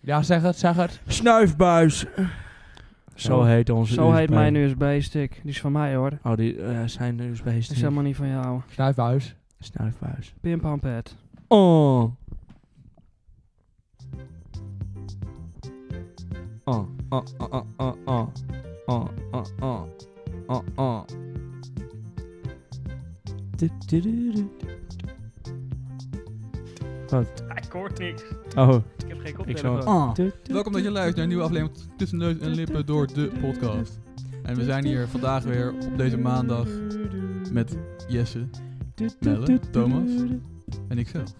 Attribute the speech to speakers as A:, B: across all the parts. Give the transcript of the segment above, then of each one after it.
A: Ja, zeg het, zeg het.
B: Snuifbuis. Zo
A: Ja,
B: heet onze
C: Zo heet
B: USB.
C: mijn USB-stick. Die is van mij hoor.
B: Oh, die eh, zijn USB-stick.
C: Die is helemaal niet van jou.
A: Snuifbuis.
B: Snuifbuis.
C: Pimpampet.
B: Oh. Oh, oh, oh, oh, oh, oh, oh, oh, oh, oh. Du- du- du- du- Wat?
C: Ik hoor niks.
B: Oh,
C: Ik heb geen
B: ik zou...
C: koptelefoon.
B: Oh. Du- du-
D: Welkom dat je luistert naar een nieuwe aflevering van Tussen Neus en Lippen door de podcast. En we zijn hier vandaag weer op deze maandag met Jesse
B: du-
D: Melle,
B: du- du-
D: Thomas.
B: du- du-
D: en ikzelf.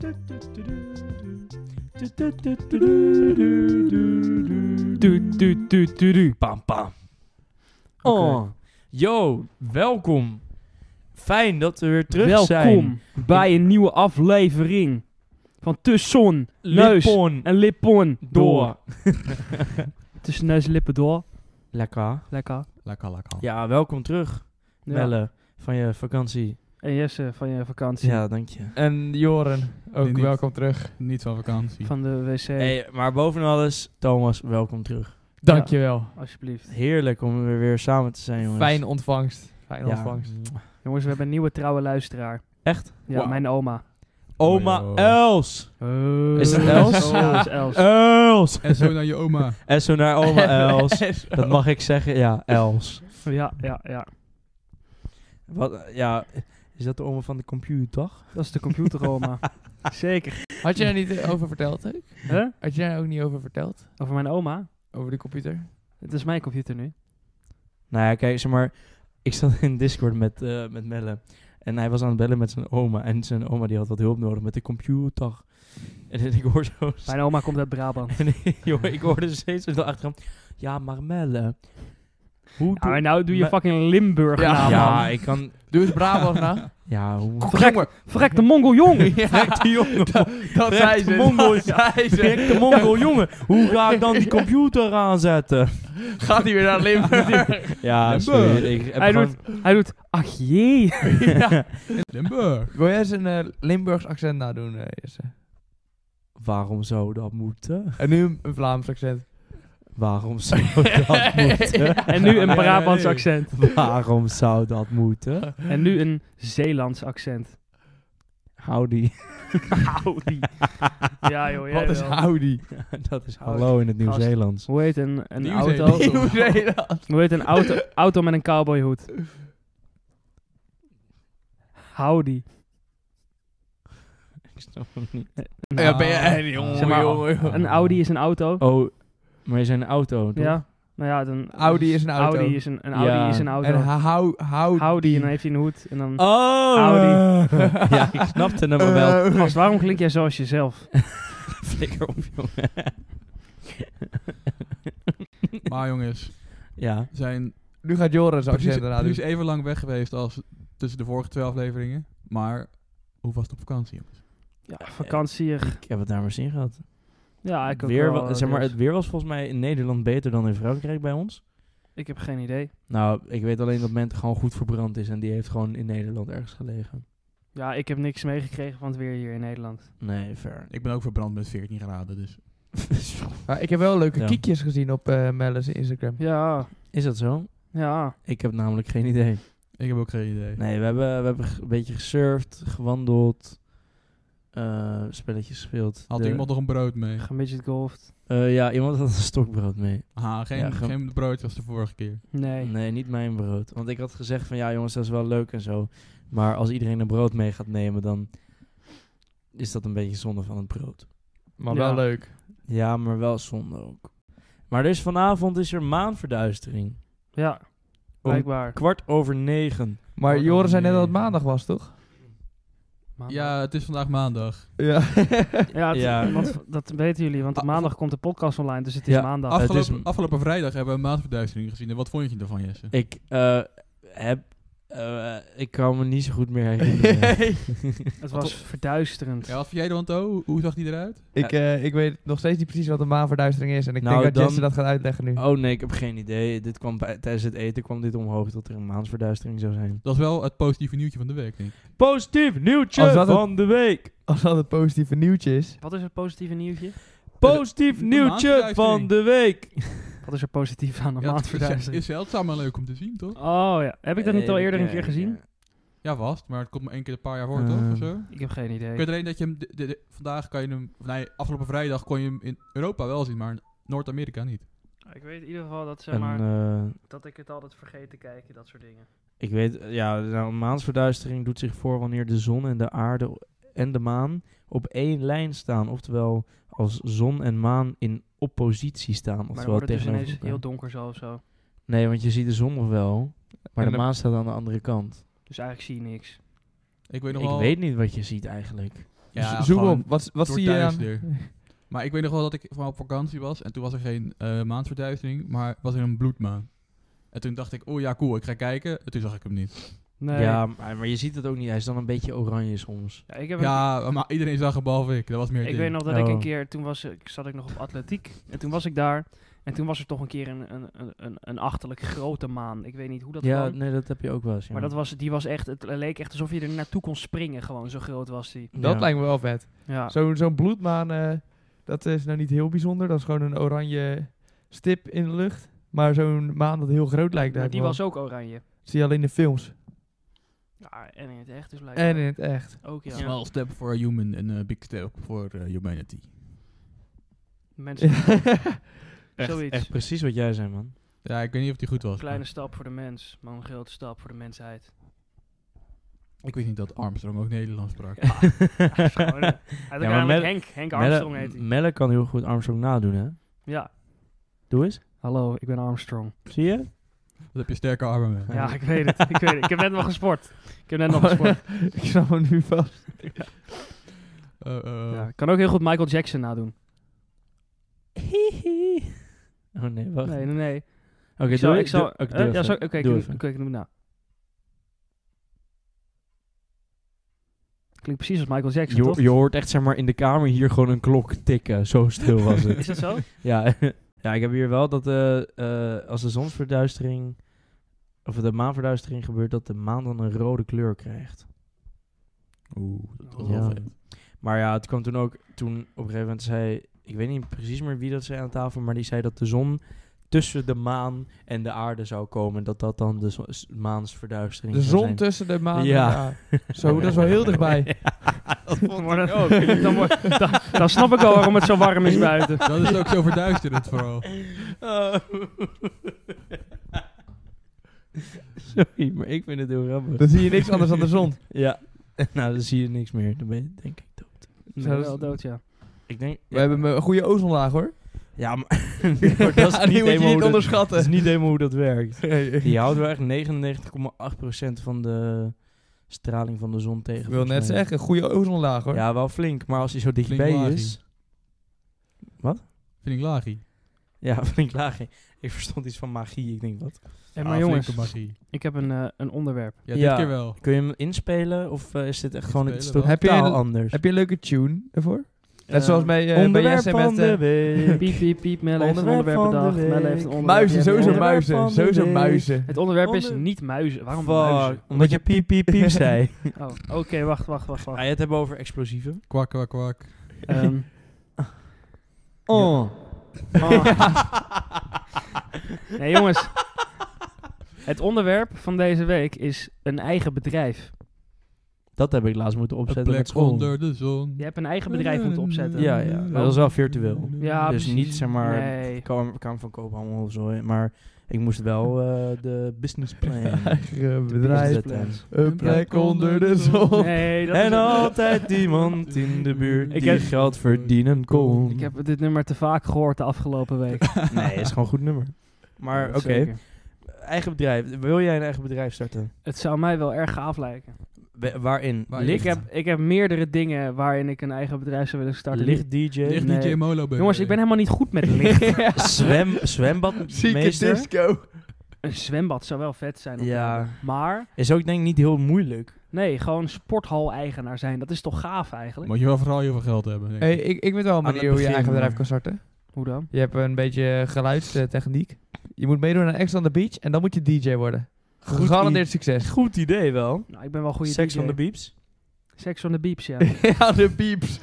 B: Pam, pam. Oh, yo, welkom. Fijn dat we weer terug
C: Welkom
B: zijn.
C: bij een nieuwe aflevering van Tussen Neus
B: Lippon
C: en Lippon door.
B: door.
C: Tussen neus en lippen door.
B: Lekker.
C: Lekker.
D: Lekker, lekker.
B: Ja, welkom terug,
C: Ja.
B: Melle, van je vakantie.
C: En Jesse van je vakantie.
B: Ja, dank je.
A: En Joren, ook
D: Nee, niet.
A: welkom terug.
D: Niet van vakantie.
C: Van de wc.
B: Hey, maar boven alles, Thomas, welkom terug.
A: Dankjewel.
C: Alsjeblieft.
B: Heerlijk om weer, weer samen te zijn, jongens.
A: Fijn ontvangst. Fijn
B: Ja.
A: ontvangst.
C: Jongens, we hebben een nieuwe trouwe luisteraar.
B: Echt?
C: Ja,
D: Wauw.
C: mijn oma.
B: Oma
D: Yo.
B: Els. Eh, Is dat Els? Oh.
C: Ja, dat is Els.
B: Els.
D: En zo naar je oma.
B: En zo naar oma Els. Dat mag ik zeggen, ja, Els.
C: Ja, ja, ja.
B: Wat, eh, ja, is dat de oma van de computer?
C: Dat is de computeroma. Zeker.
A: Had je daar niet eh, over verteld? hè?
C: Huh?
A: Had je daar ook niet over verteld?
C: Over mijn oma?
A: Over de computer?
C: Het is mijn computer nu.
B: Nou ja, kijk, zeg maar, ik zat in Discord met, eh, met Melle. En hij was aan het bellen met zijn oma. En zijn oma die had wat hulp nodig met de computer. En ik hoor zo...
C: Mijn oma komt uit Brabant.
B: En jongen, ik hoorde steeds zo achteraan. Ja, maar Melle... Hoe
C: Ja,
B: doe-
C: maar nou doe je
B: Me-
C: fucking Limburg
A: Ja.
C: na, man.
B: Ja, ik kan...
A: Doe eens Brabant na.
B: Ja, hoe...
C: Verrek, verrek de Mongol jong.
B: Verrekte jongen.
A: Dat
B: Verrekte
A: zei ze.
B: Mongol.
A: Dat zei ze.
B: Verrekte Mongol jongen. Hoe ga ik dan die computer aanzetten?
A: Gaat hij weer naar Limburg?
B: Ja,
D: Limburg.
B: sorry. Ik heb
C: Hij
B: gewoon-
C: doet, hij doet, ach jee.
D: Limburg.
A: Wil jij eens een eh, Limburgs accent nadoen, eh, Jesse?
B: Waarom zou dat moeten?
A: En nu een Vlaams accent.
B: Waarom zou dat moeten?
C: En nu een Brabants
D: nee.
C: accent.
B: Waarom zou dat moeten?
C: En nu een Zeelands accent.
B: Howdy.
C: Audi. Ja joh, jij
A: Wat is
C: wel.
A: howdy?
B: dat is hallo in het
C: Gast.
B: Nieuw-Zeelands.
C: Hoe heet een, een
D: Nieuw-Zeeland.
C: auto?
A: Nieuw-Zeeland.
C: Hoe heet een auto, auto met een cowboyhoed? Howdy.
B: Ik snap het niet.
C: Een,
A: Ja, ben je... eh,
C: Zeg
A: Jongen,
C: maar,
A: jongen, jongen.
C: een Audi is een auto.
B: Oh, maar je zijn een auto, toch?
C: Ja. Nou ja, dan,
A: Audi is een auto.
C: Audi is een, een Audi
B: Ja.
C: is een auto.
A: En hou... hou
C: Howdy, en dan heeft hij een hoed. En dan...
B: Oh!
C: Audi.
B: eh. ja, ik snapte hem maar wel.
C: Gast, Dus waarom klink jij zoals jezelf?
B: Flikker op, jongen.
D: Maar jongens,
B: ja.
D: we zijn
A: Nu gaat Joris
D: precies,
A: accent nadoen.
D: precies even lang weg geweest als tussen de vorige twee afleveringen. Maar hoe was het op vakantie, jongens?
C: Ja, vakantie. eh,
B: Ik heb het daar maar zin gehad.
C: Ja, Ah, ik ook
B: weer
C: wel,
B: wa- zeg maar,
C: dus.
B: het weer was volgens mij in Nederland beter dan in Frankrijk bij ons.
C: Ik heb geen idee.
B: Nou, ik weet alleen dat Ment gewoon goed verbrand is en die heeft gewoon in Nederland ergens gelegen.
C: Ja, ik heb niks meegekregen van het weer hier in Nederland.
B: Nee, ver.
D: Ik ben ook verbrand met 14 graden, dus...
A: Maar ik heb wel leuke
B: Ja.
A: kiekjes gezien op eh Melle's Instagram.
C: Ja,
B: is dat zo?
C: ja.
B: Ik heb namelijk geen idee.
D: Ik heb ook geen idee.
B: Nee, we hebben, we hebben ge- een beetje gesurfd, gewandeld, eh, spelletjes gespeeld.
D: Had
B: De-
D: iemand nog een brood mee?
C: Gemidget golfd.
B: Eh, ja, iemand had een stokbrood mee.
D: Ah, geen,
B: Ja, ge-
D: geen brood als de vorige keer.
C: Nee.
B: Nee, niet mijn brood. Want ik had gezegd van ja jongens, dat is wel leuk en zo. Maar als iedereen een brood mee gaat nemen, dan is dat een beetje zonde van het brood.
A: Maar
C: Ja.
A: wel leuk.
B: Ja, maar wel zonde ook. Maar dus vanavond is er maanverduistering.
C: Ja,
B: Om
C: blijkbaar.
B: kwart over negen.
A: Maar
D: Oh,
A: Joris zei net dat het
D: nee.
A: maandag was, toch?
C: Maandag.
D: Ja, het is vandaag maandag.
A: Ja.
C: ja, het-
B: Ja.
C: Want, dat weten jullie, want op
D: Ah,
C: maandag komt de podcast online, dus het is
B: Ja,
C: maandag.
B: af- het
D: Afgelopen,
B: is-
D: afgelopen vrijdag hebben we een maandverduistering gezien. En wat vond je ervan, Jesse?
B: Ik eh, heb... eh, ik kan me niet zo goed meer herinneren.
C: het was verduisterend.
D: Ja, wat vond jij dan, Hoe, hoe zag die eruit?
A: ik, eh, ik weet nog steeds niet precies wat een maanverduistering is. En ik
B: Nou,
A: denk dat
B: dan-
A: Jesse dat gaat uitleggen nu.
B: Oh nee, ik heb geen idee. Dit kwam bij, tijdens het eten kwam dit omhoog dat er een maansverduistering zou zijn.
D: Dat is wel het positieve nieuwtje van de week, denk ik.
B: Positief nieuwtje
C: Oh,
A: Als dat het-
B: van de week.
A: Als dat het positieve nieuwtje is.
C: Wat is het positieve nieuwtje?
B: Positief
D: De
B: nieuwtje
D: maandverduistering.
B: van de week.
C: Wat is er positief aan een
D: Ja, het is,
C: maandverduistering?
D: is zeldzaam en leuk om te zien, toch?
C: Oh ja, heb ik dat niet al eerder een
B: Eh, Ja,
C: keer gezien?
D: Ja, vast. Maar het komt maar één keer een paar jaar
C: Eh.
D: voor, toch?
B: Ehm.
D: Of zo?
C: Ik heb geen idee.
D: Ik weet alleen dat je hem... de- de- de- vandaag kan je hem... of nee, afgelopen vrijdag kon je hem in Europa wel zien, maar in Noord-Amerika niet.
C: Ik weet in ieder geval dat,
B: En, eh,
C: dat ik het altijd vergeet te kijken, dat soort dingen.
B: ik weet, ja, nou, maansverduistering doet zich voor wanneer de zon en de aarde en de maan op één lijn staan. Oftewel, als zon en maan in oppositie staan.
C: Maar dan
B: Oftewel
C: wordt het dus
B: tegenover
C: ineens
B: elkaar.
C: heel donker zo of zo.
B: Nee, want je ziet de zon nog wel, maar
A: En
B: de
A: de-
B: maan staat aan de andere kant.
C: Dus eigenlijk zie je niks.
D: Ik weet nog
B: Ik
D: wel...
B: weet niet wat je ziet eigenlijk.
D: Ja,
A: Zoom
D: gewoon-
A: op. Wat, wat
D: door
A: zie je
D: thuis
A: aan?
D: weer. Maar ik weet nog wel dat ik van op vakantie was en toen was er geen eh maandverduistering, maar het was in een bloedmaan. En toen dacht ik, oh ja, cool, ik ga kijken. En toen zag ik hem niet.
C: Nee.
B: Ja, maar, maar je ziet het ook niet. Hij is dan een beetje oranje soms.
C: Ja, ik heb een-
D: Ja, maar iedereen zag hem behalve ik. Dat was meer het
C: Ik
D: ding.
C: weet nog dat
B: Oh.
C: ik een keer, toen was, ik- zat ik nog op atletiek. En toen was ik daar. En toen was er toch een keer een, een, een- een, een achterlijk grote maan. Ik weet niet hoe dat
B: ja,
C: kwam.
B: nee, dat heb je ook wel eens. ja.
C: Maar dat was, die was echt, het leek echt alsof je er naartoe kon springen. Gewoon zo groot was die.
A: Dat
B: Ja.
A: lijkt me wel vet.
C: Ja.
B: Ah.
A: Zo- Zo'n bloedmaan, eh, dat is nou niet heel bijzonder. Dat is gewoon een oranje stip in de lucht. Maar zo'n maan dat heel groot lijkt,
C: Maar
A: daar
C: die was ook oranje.
A: zie je alleen in de films.
C: Ja, en in het echt dus blijkbaar.
A: En in het echt.
C: Ook ja.
D: Small step for a human en a big step for eh, humanity.
C: Mensen.
B: echt,
C: zoiets.
B: echt precies wat jij zei, man.
D: Ja, ik weet niet of die goed was.
C: Kleine stap voor de mens, maar een grote stap voor de mensheid.
D: maar Ik wist niet dat Armstrong ook Nederlands sprak.
C: Ja, hij is gewoon, eh, hij
B: Ja,
C: ja,
B: maar Mel-
C: Henk, Henk Armstrong heet hij.
B: Melle kan heel goed Armstrong nadoen, hè?
C: Ja.
B: Doe eens.
C: Hallo, ik ben Armstrong.
B: Zie je?
D: Dat heb je sterke armen. man.
C: Ja, ik weet het. ik weet het. Ik heb net nog gesport. Ik heb net
B: Oh,
C: nog gesport.
A: ik snap hem nu vast.
D: Eh, eh,
C: Ja, kan ook heel goed Michael Jackson nadoen.
B: Oh nee, wacht.
C: Nee, nee, nee.
B: Oké,
C: Ik zal-
B: doe
C: ik zal-
B: doe- oké,
C: eh,
B: doe
C: ja,
B: even.
C: zal- Oké,
B: Doe
C: ik doe-
B: even.
C: oké, ik doe hem nou. Klinkt precies als Michael Jackson,
B: Je,
C: toch?
B: ho- je hoort echt zeg maar in de kamer hier gewoon een klok tikken. Zo stil was het.
C: Is dat zo?
B: ja, ja, ik heb hier wel dat eh, eh, als de zonsverduistering of de maanverduistering gebeurt, dat de maan dan een rode kleur krijft.
D: Oeh, dat was
C: Ja.
D: wel vet.
B: Maar ja, het kwam toen ook, toen op een gegeven moment zei, ik weet niet precies meer wie dat zei aan tafel, maar die zei dat de zon tussen de maan en de aarde zou komen. Dat dat dan de zo- s- maansverduistering
A: De
B: zou
A: zon
B: zijn.
A: tussen de maan. en
B: Ja.
A: de aarde. Zo, dat is wel heel dichtbij.
C: Maar dat- dan, wordt- dan, dan snap ik al waarom het zo warm is buiten.
D: Dat is ook zo verduisterend vooral.
B: Oh. Sorry, maar ik vind het heel grappig.
A: Dan zie je niks anders dan de zon.
B: Ja. Nou, dan zie je niks meer. Dan ben je denk ik dood.
C: Ik
A: Zo,
C: ben
A: dat-
C: wel dood, ja.
B: Ik denk...
A: We hebben een goede ozonlaag hoor.
B: Ja, maar... maar dat is
A: Ja, die
B: niet
A: moet je
B: helemaal
A: niet
B: hoe dat-
A: onderschatten.
B: Dat is niet helemaal hoe dat werkt.
A: Ik
B: Die houdt wel echt 99,8% van de straling van de zon tegen.
A: wil net
B: volgens mij.
A: zeggen, een goede ozonlaag hoor.
B: Ja, wel flink. Maar als hij zo dichtbij
D: laag,
B: is...
D: Vind ik laagie.
B: Ja, flink laag. Ik verstond iets van magie. Ik denk, wat?
C: En
D: Ah,
C: maar jongens,
D: flinke magie.
C: ik heb een, eh, een onderwerp.
D: Ja, dit
B: Ja.
D: keer wel.
B: Kun je hem inspelen? Of eh, is dit echt gewoon iets
D: Inspelen
B: totaal
D: wel.
A: Heb je een-
B: anders?
A: Heb je een leuke tune ervoor? Net
C: Eh,
A: zoals bij, eh bij
B: onderwerp
A: Jesse
B: van
A: met...
B: de
A: eh,
B: week.
C: Piep, piep, piep. Melle heeft een
B: Onderwerp
C: onderwerp
B: van de
C: bedacht. Melle
B: week.
C: heeft een onderwerp.
A: muizen,
C: jij hebt
A: sowieso
C: een onderwerp.
B: van
A: muizen.
B: de
A: Sowieso
B: week.
A: muizen.
C: Het onderwerp is
B: Onder-
C: niet muizen. Waarom
B: Fuck,
C: muizen?
B: Omdat je piep piep piep zei.
C: Oh, oké, wacht, wacht, wacht. wacht.
B: Ga je het hebben over explosieven?
D: Kwak, kwak, kwak.
C: Ehm,
B: Oh.
C: Nee, jongens. Het onderwerp van deze week is een eigen bedrijf.
B: Dat heb ik laatst moeten
D: Een
B: opzetten met
D: plek
B: school.
D: onder de zon.
C: Je hebt een eigen bedrijf moeten opzetten.
B: Ja, ja. Maar dat is wel virtueel.
C: Ja,
B: dus
C: precies.
B: niet zeg maar
C: Nee.
B: kamer, kamer van koophandel of zo. hè, Maar ik moest wel eh, de business plan.
A: Eigen
B: De business
A: bedrijf.
B: plan.
A: Een plek onder de zon.
C: Nee, dat
B: Oh. En
C: is...
B: altijd iemand in de buurt
C: Ik
B: die
C: heb-
B: geld verdienen kon.
C: Ik heb dit nummer te vaak gehoord de afgelopen week.
B: Nee, is gewoon een goed nummer. Maar oké,
C: Zeker.
B: eigen bedrijf. Wil jij een eigen bedrijf starten?
C: Het zou mij wel erg gaaf lijken.
B: Wa- waarin?
D: Waarin?
B: Licht,
C: Ik heb, ik heb meerdere dingen waarin ik een eigen bedrijf zou willen starten.
B: licht DJ?
D: Ligt
C: Nee.
D: DJ Molo bij
C: Jongens, ik ben helemaal niet goed met licht.
B: Zwem,
A: Zieke
B: zwembadmeester?
A: disco.
C: een zwembad zou wel vet zijn. om te
B: Ja.
C: hebben. Maar,
B: Is ook denk ik niet heel moeilijk.
C: nee, gewoon sporthal-eigenaar zijn. Dat is toch gaaf eigenlijk?
D: Moet je wel vooral heel veel geld hebben. denk ik.
A: Hey, ik, ik weet wel een
B: Aan het
A: manier hoe je
B: begin,
A: eigen bedrijf
B: maar.
A: kan starten.
C: Hoe dan?
A: Je hebt een beetje geluidstechniek. Je moet meedoen aan Ex on the Beach en dan moet je DJ worden.
B: Goed
A: Gegarandeerd
B: i-
A: succes.
B: Goed idee wel.
C: Nou, ik ben wel een goede
B: Sex
C: DJ.
B: van de beeps.
C: Sex on the Beeps, ja.
A: ja, de pieps.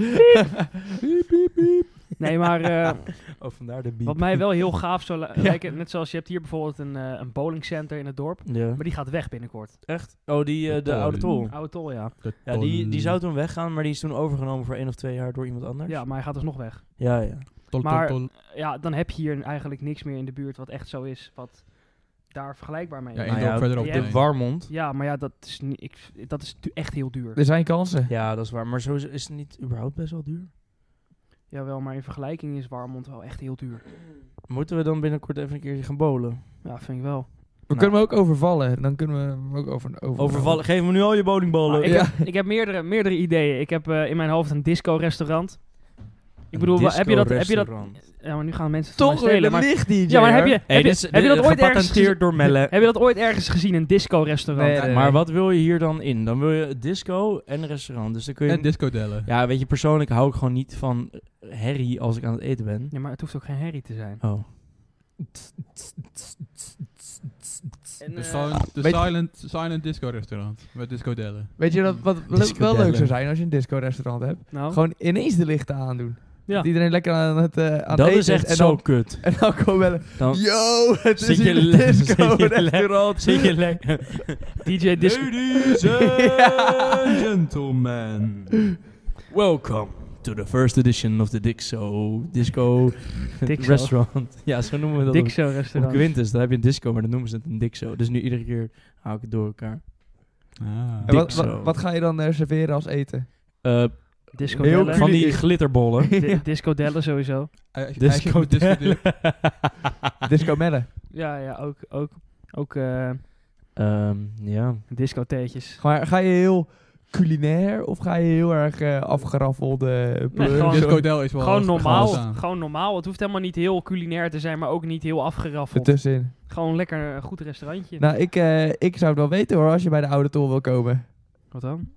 C: Nee, maar eh,
B: Oh, vandaar de biep.
C: wat mij wel heel gaaf zou li-
B: Ja.
C: lijken, net zoals je hebt hier bijvoorbeeld een, eh een bowlingcenter in het dorp,
B: Ja.
C: maar die gaat weg binnenkort.
B: Echt? Oh, die, eh,
D: De
B: de
D: tol.
B: oude tol.
C: Oude tol, ja.
B: Ja, die, die zou toen weggaan, maar die is toen overgenomen voor één of twee jaar door iemand anders.
C: Ja, maar hij gaat dus nog weg.
B: ja. ja.
C: maar- Ja, dan heb je hier eigenlijk niks meer in de buurt wat echt zo is, wat daar vergelijkbaar mee
D: Ja,
C: is.
D: één
B: Nou
D: dorp
B: ja,
D: verderop.
C: jij-
B: De Warmond.
C: Ja, maar ja, dat is, niet, ik, dat is tu- echt heel duur.
A: Er zijn kansen.
B: Ja, dat is waar. Maar sowieso is het niet überhaupt best wel duur.
C: Jawel, maar in vergelijking is Warmond wel echt heel duur.
B: Moeten we dan binnenkort even een keertje gaan bowlen?
C: Ja, vind ik wel.
A: We
B: Nou.
A: kunnen hem ook overvallen. Dan kunnen we hem ook over, overvallen.
B: Overvallen. Geef me nu al je bowlingballen.
C: Maar Ah, ik,
A: Ja.
C: heb, ik heb meerdere, meerdere ideeën. Ik heb eh, in mijn hoofd een disco-restaurant. Ik bedoel,
B: Een
C: wa- heb je dat... Heb je dat
B: disco-restaurant.
C: ja, maar nu gaan mensen het van
A: Toch
C: mij
A: weer
C: stelen.
A: de
C: Maar,
A: licht DJ.
C: ja, maar heb je,
B: Hey,
C: heb je,
B: dit is-
C: heb je dat
B: dit-
C: ooit ergens gezien?
B: gepatenteerd door Melle.
C: Heb je dat ooit ergens gezien, een disco-restaurant?
A: Nee, nee,
B: Maar wat wil je hier dan in? Dan wil je disco en een restaurant. Dus dan kun je...
D: En discodellen.
B: ja, weet je, persoonlijk hou ik gewoon niet van eh, herrie als ik aan het eten ben.
C: Ja, maar het hoeft ook geen herrie te zijn.
B: Oh.
C: En,
D: De,
C: eh,
D: silent, de
A: weet-
D: silent, silent disco restaurant. Met discodellen.
A: Weet je dat, wat wel- wel
B: Discodellen.
A: leuk zou zijn als je een disco-restaurant hebt?
B: Oh.
C: nou,
A: Gewoon ineens de lichten aandoen.
C: Ja.
A: Dat iedereen lekker aan het, eh, aan
B: dat
A: het eten
B: is echt
A: en
B: zo
A: Dan,
B: kut.
A: en dan komen bellen.
B: Dan
A: Yo, het
B: zit
A: is
B: je
A: hier een
B: le- zit je le-
A: disco-restaurant.
B: zit je lekker...
C: DJ disco...
B: Ladies and gentlemen, welcome to the first edition of the Dixo Disco
C: Dixo.
B: Restaurant. Ja, zo noemen we dat. op- Op
C: Dixo-restaurant.
B: Quintus, daar heb je een disco, maar dan noemen ze het een Dixo. Dus nu iedere keer hou ik het door elkaar.
D: Ah.
A: En wat,
B: Dixo.
A: wat, wat ga je dan eh, serveren als eten?
B: Eh,
C: Disco-dellen.
B: van die glitterbollen.
C: Di- Disco-dellen sowieso.
D: Hij- hij zit
B: Disco
D: met discodellen.
A: disco mellen.
C: Ja, ja, ook... ook, ook eh
B: Ehm, ja.
C: discotheetjes.
A: Maar ga je heel culinair of ga je heel erg eh, afgeraffelde pleurs?
C: gewoon-
D: Discodel is wel...
C: Gewoon normaal,
D: staan.
C: gewoon normaal. Het hoeft helemaal niet heel culinair te zijn, maar ook niet heel afgeraffeld.
A: ertussenin?
C: Gewoon lekker een goed restaurantje.
A: Nou, ik, eh, ik zou het wel weten hoor, als je bij de Oude Tol wil komen.
C: Wat dan?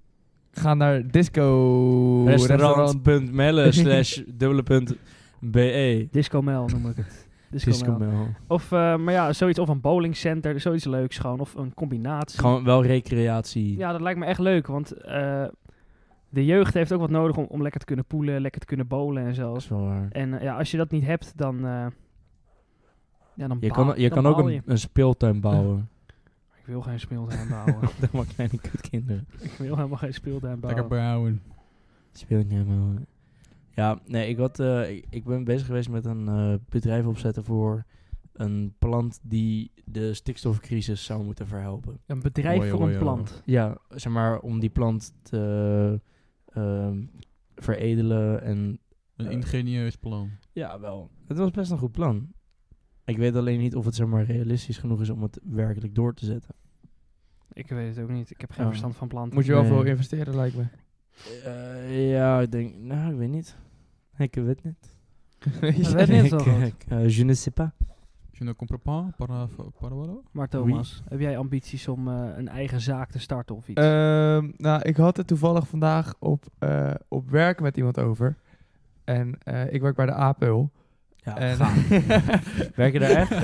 A: Ga naar disco restaurant.
B: Restaurant.melle slash dubbele punt BE.
C: Disco Mel noem ik het. Disco,
B: Disco
C: Mel.
B: Mel.
C: Of, eh, maar ja, zoiets. Of een bowlingcenter. Zoiets leuks gewoon. Of een combinatie.
B: Gewoon wel recreatie.
C: Ja, dat lijkt me echt leuk. Want eh, de jeugd heeft ook wat nodig om, om lekker te kunnen poelen. Lekker te kunnen bowlen en zo.
B: Dat is wel waar.
C: En eh, ja, als je dat niet hebt, dan... eh, ja, dan
B: Je
C: baal-
B: kan, je
C: dan
B: kan ook
C: baal
B: een,
C: je.
B: een speeltuin bouwen.
C: Ik wil geen speeltuin bouwen.
B: Allemaal kleine kutkinderen.
C: ik wil helemaal geen speeltuin
D: Lekker
C: bouwen.
D: brouwen.
B: Speeltuin bouwen. Ja, nee, ik, had, eh, ik, ik ben bezig geweest met een eh, bedrijf opzetten voor een plant die de stikstofcrisis zou moeten verhelpen.
C: Een bedrijf
D: Hoi,
C: voor
D: hoi,
C: een
D: hoi.
C: plant.
B: Ja, zeg maar om die plant te ehm, veredelen en
D: Een ingenieus plan.
B: ja, wel. Het was best een goed plan. Ik weet alleen niet of het zeg maar realistisch genoeg is om het werkelijk door te zetten.
C: Ik weet het ook niet. Ik heb geen
B: Ja.
C: verstand van planten.
A: Moet je wel
B: Nee.
A: veel investeren, lijkt me.
B: Eh, ja, ik denk, nou, ik weet niet. Ik weet niet.
C: Dat weet niet zo
B: Ik,
C: goed.
B: ik, eh, je ne sais pas.
D: Je ne comprends pas? Para, para, para?
C: Maar Thomas, heb jij ambities om eh, een eigen zaak te starten of
B: Eh,
C: iets?
A: Ehm, nou, ik had het toevallig vandaag op, eh, op werk met iemand over. En eh, ik werk bij de Apel.
B: Ja,
A: en
B: gaaf. Werk je daar echt?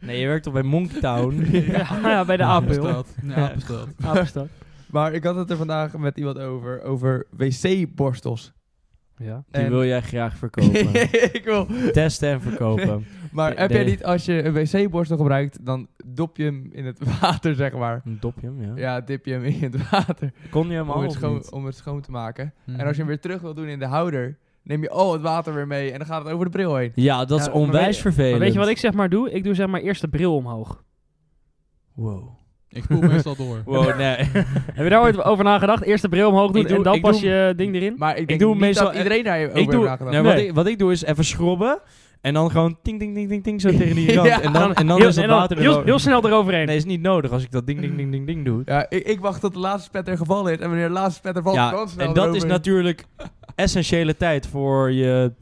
B: Nee, je werkt toch bij Monktown?
C: ja, nou ja, bij de Apel.
D: Apenstad. Nee, Apenstad.
C: Apenstad.
A: maar ik had het er vandaag met iemand over, over wc-borstels.
C: Ja.
B: Die
A: En-
B: wil jij graag verkopen.
A: ik wil.
B: Testen en verkopen.
A: Maar
B: Nee,
A: heb jij
B: nee.
A: niet, als je een wc-borstel gebruikt, dan dop je hem in het water, zeg maar.
B: Een dopje, ja.
A: Ja, dip je hem in het water
B: Kon je hem
A: om
B: al
A: het,
B: of
A: schoon,
B: niet? Mhm.
A: om het schoon te maken.
D: Hm.
A: En als je hem weer terug wil doen in de houder, neem je al het water weer mee en dan gaat het over de bril heen.
B: Ja, dat
C: Ja,
B: is
C: maar
B: onwijs
C: weet je-
B: vervelend.
C: Maar weet je wat ik zeg maar doe? Ik doe zeg maar eerst de bril omhoog.
B: Wow.
D: Ik spoel meestal door.
B: Wow, nee.
C: heb je daar ooit over nagedacht? Eerst de bril omhoog doen
B: Ik doe-
C: en dan
B: ik
C: pas
B: doe-
C: je ding erin?
A: Maar ik denk
B: doe
A: niet
B: meestal-
A: dat iedereen daar over
B: ik
A: heeft
B: doe,
A: nagedacht.
B: nee, wat,
C: Nee.
B: ik, wat ik doe is even schrobben en dan gewoon ting, ting, ting, ting, ting zo tegen die rand.
A: Ja.
B: En dan, en dan
C: heel,
B: is het
C: en dan
B: water
C: heel,
B: er
C: heel snel eroverheen.
B: Nee, is niet nodig als ik dat ding, ding, ding, ding, ding doe.
A: Ja, ik, ik wacht tot de laatste spetter gevallen is. En wanneer de laatste spetter valt,
B: Ja,
A: dan snel
B: en dat is
A: eroverheen.
B: natuurlijk essentiële tijd voor je...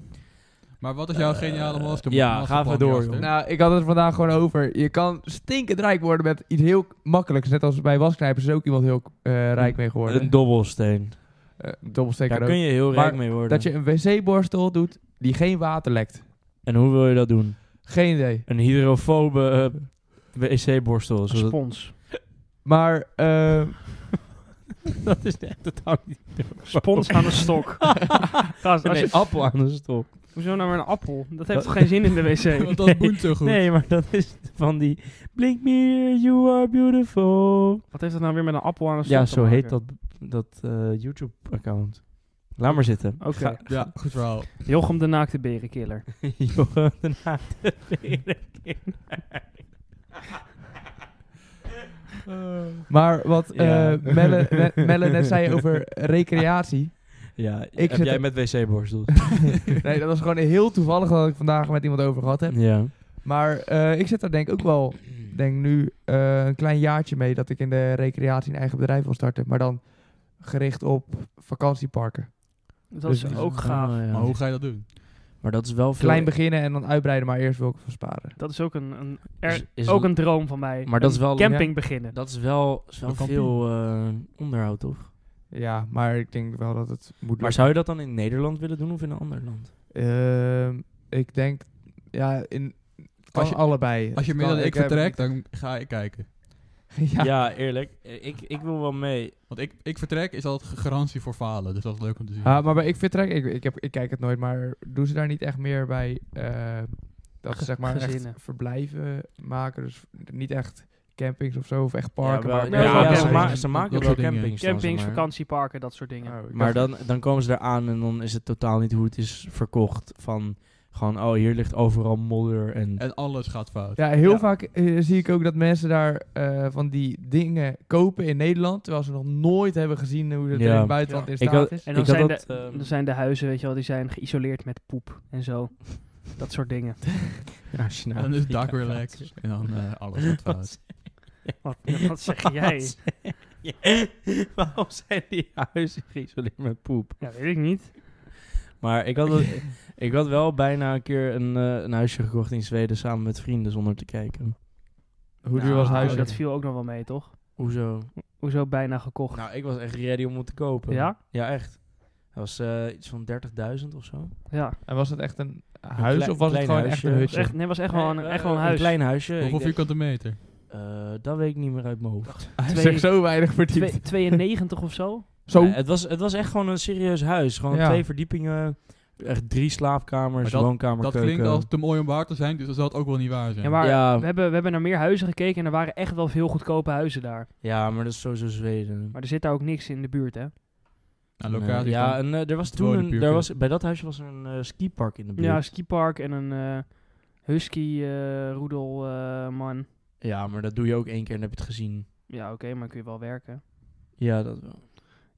D: Maar wat is jouw geniale master?
B: ja,
D: masterplan,
B: ga even door,
D: Jaster?
B: joh.
A: Nou, ik had het vandaag gewoon over. Je kan stinkend rijk worden met iets heel makkelijks. Net als bij wasknijpers is ook iemand heel eh, rijk mee geworden.
B: Een dobbelsteen.
A: Eh, dobbelsteen
B: Daar
A: kan
B: kun
A: ook.
B: je heel
A: Maar
B: rijk mee worden.
A: Dat je een wc-borstel doet die geen water lekt.
B: En hoe wil je dat doen?
A: Geen idee.
B: Een hydrofobe eh, wc-borstel.
C: Een spons.
A: Maar, eh,
B: dat is echt totaal niet...
C: Spons aan de stok. Gast, als
B: Nee,
C: je,
B: appel aan de stok.
C: Hoezo nou maar een appel? Dat heeft toch geen zin in de wc?
D: Want dat boent zo goed.
B: Nee, maar dat is van die... Blink me, you are beautiful.
C: Wat heeft dat nou weer met een appel aan een
B: Ja,
C: stop te
B: zo heet
C: maken?
B: dat, dat eh, YouTube-account. Laat maar zitten.
C: Oké.
B: Ga-
D: Ja, goed verhaal.
C: Jochem de naakte berenkiller.
B: Jochem de naakte
A: Maar wat
B: Ja.
A: eh, Melle, Me- Melle net zei over recreatie.
B: Ja,
A: Ik
B: heb
A: zit
B: jij
A: er-
B: met wc-borstel?
A: Nee, dat was gewoon heel toevallig dat ik vandaag met iemand over gehad heb.
B: ja.
A: Maar eh, ik zit daar denk ik ook wel, denk nu eh, een klein jaartje mee dat ik in de recreatie een eigen bedrijf wil starten. Maar dan gericht op vakantieparken.
C: Dat
A: Dus
C: is
A: die-
C: ook gaaf.
B: Ah, ja.
D: Maar hoe ga je dat doen?
B: Maar dat is wel veel...
A: Klein beginnen en dan uitbreiden, maar eerst wil ik ervan sparen.
C: Dat is ook een, een, er-
B: Is- is
C: ook
B: een-
C: een droom van mij.
B: Maar dat is
C: Een
B: wel-
C: Camping beginnen.
B: Dat is wel, is wel
D: Een kampioen.
B: veel eh, onderhoud, toch?
A: Ja, maar ik denk wel dat het moet
B: Maar
A: lukken.
B: zou je dat dan in Nederland willen doen of in een ander land?
A: Ehm, ik denk, ja, in, het kan
D: Als je-
A: allebei.
D: Als je
A: Het
D: meer
A: kan-
D: dan ik
A: heb-
D: vertrek, dan ga ik kijken.
A: ja.
B: eerlijk. Eh, Ik, ik wil wel mee.
D: Want ik, ik vertrek is altijd ge- garantie voor falen. Dus dat is leuk om te zien.
A: Ah, maar bij ik vertrek, ik, ik, heb, ik kijk het nooit, maar doen ze daar niet echt meer bij eh, dat ze
C: Ge-
A: zeg maar
C: gezinnen.
A: echt verblijven maken? Dus niet echt campings of zo, of echt parken.
B: ja, wel-
A: maar
C: nee,
B: ja,
C: wel
B: ja, ze,
C: campings.
B: ma- ze maken
D: Dat
B: wel
D: soort dingen.
B: campings. dan,
C: Campings,
B: zeg maar.
C: vakantieparken, dat soort dingen.
A: Oh, ik
B: Maar
A: dacht-
B: dan, dan komen ze eraan en dan is het totaal niet hoe het is verkocht. Van gewoon, oh, hier ligt overal modder en...
D: En alles gaat fout.
A: Ja, heel
C: Ja.
A: vaak eh, zie ik ook dat mensen daar eh, van die dingen kopen in Nederland, terwijl ze nog nooit hebben gezien hoe dat er in
B: Ja.
A: het buitenland
D: Ja.
A: in
B: Ik
A: staat
B: had-
A: is.
C: En dan
B: Ik had
C: zijn,
B: dat,
C: de,
B: ehm,
C: dan zijn de huizen, weet je wel, die zijn geïsoleerd met poep en zo. Dat soort dingen.
B: Ja, als je naar
D: En dan is het
B: Afrika
D: dak weer
B: gaat.
D: lek. En dan eh, alles gaat fout.
C: Wat, wat zeg jij?
B: Ja, Waarom zijn die huizen geïsoleerd met poep?
C: Ja, weet ik niet.
B: Maar ik had, wel- ik had wel bijna een keer een, eh, een huisje gekocht in Zweden samen met vrienden zonder te kijken.
A: Hoe duur was het
C: Nou,
A: huis?
C: Dat viel ook nog wel mee, toch?
B: Hoezo?
C: Hoezo bijna gekocht?
B: Nou, ik was echt ready om het te kopen.
C: Ja?
B: Ja, echt. Dat was eh, iets van 30.000 of zo.
C: ja, het
A: En was het echt een huis
B: klei-
A: of was het
B: klein
A: gewoon
B: huisje.
A: echt een
C: was
A: hutje?
C: echt, nee, was echt wel een,
B: Eh,
C: echt wel een
B: eh,
C: huis.
B: klein huisje.
D: Hoeveel
B: Ik denk-
D: vierkante meter?
B: Eh, dat weet ik niet meer uit mijn hoofd.
A: Hij
C: twee-
A: zegt zo weinig verdiend.
C: Twee- 92 of zo?
A: zo,
B: Ja, het, was, het was echt gewoon een serieus huis. Gewoon
A: Ja.
B: twee verdiepingen, echt drie slaapkamers,
D: Maar dat-
B: woonkamer,
D: Dat
B: keuken.
D: klinkt als te mooi om waar te zijn, dus dat zal het ook wel niet waar zijn.
C: Ja, maar
B: Ja.
C: We, hebben, we hebben naar meer huizen gekeken en er waren echt wel veel goedkope huizen daar.
B: Ja, maar dat is sowieso Zweden.
C: Maar er zit daar ook niks in de buurt, hè?
D: Nou,
B: Nee,
D: locatie
B: ja,
D: kan-
B: en eh, er was
D: het
B: toen
D: wonen
B: een,
D: puur
B: er
D: kan.
B: was, bij dat huisje was er een eh, skipark in de buurt.
C: Ja, een skipark en een eh, husky eh roedel eh, man.
B: Ja, maar dat doe je ook één keer en dan heb je het gezien.
C: Ja, oké, maar kun je wel werken.
B: Ja, dat wel.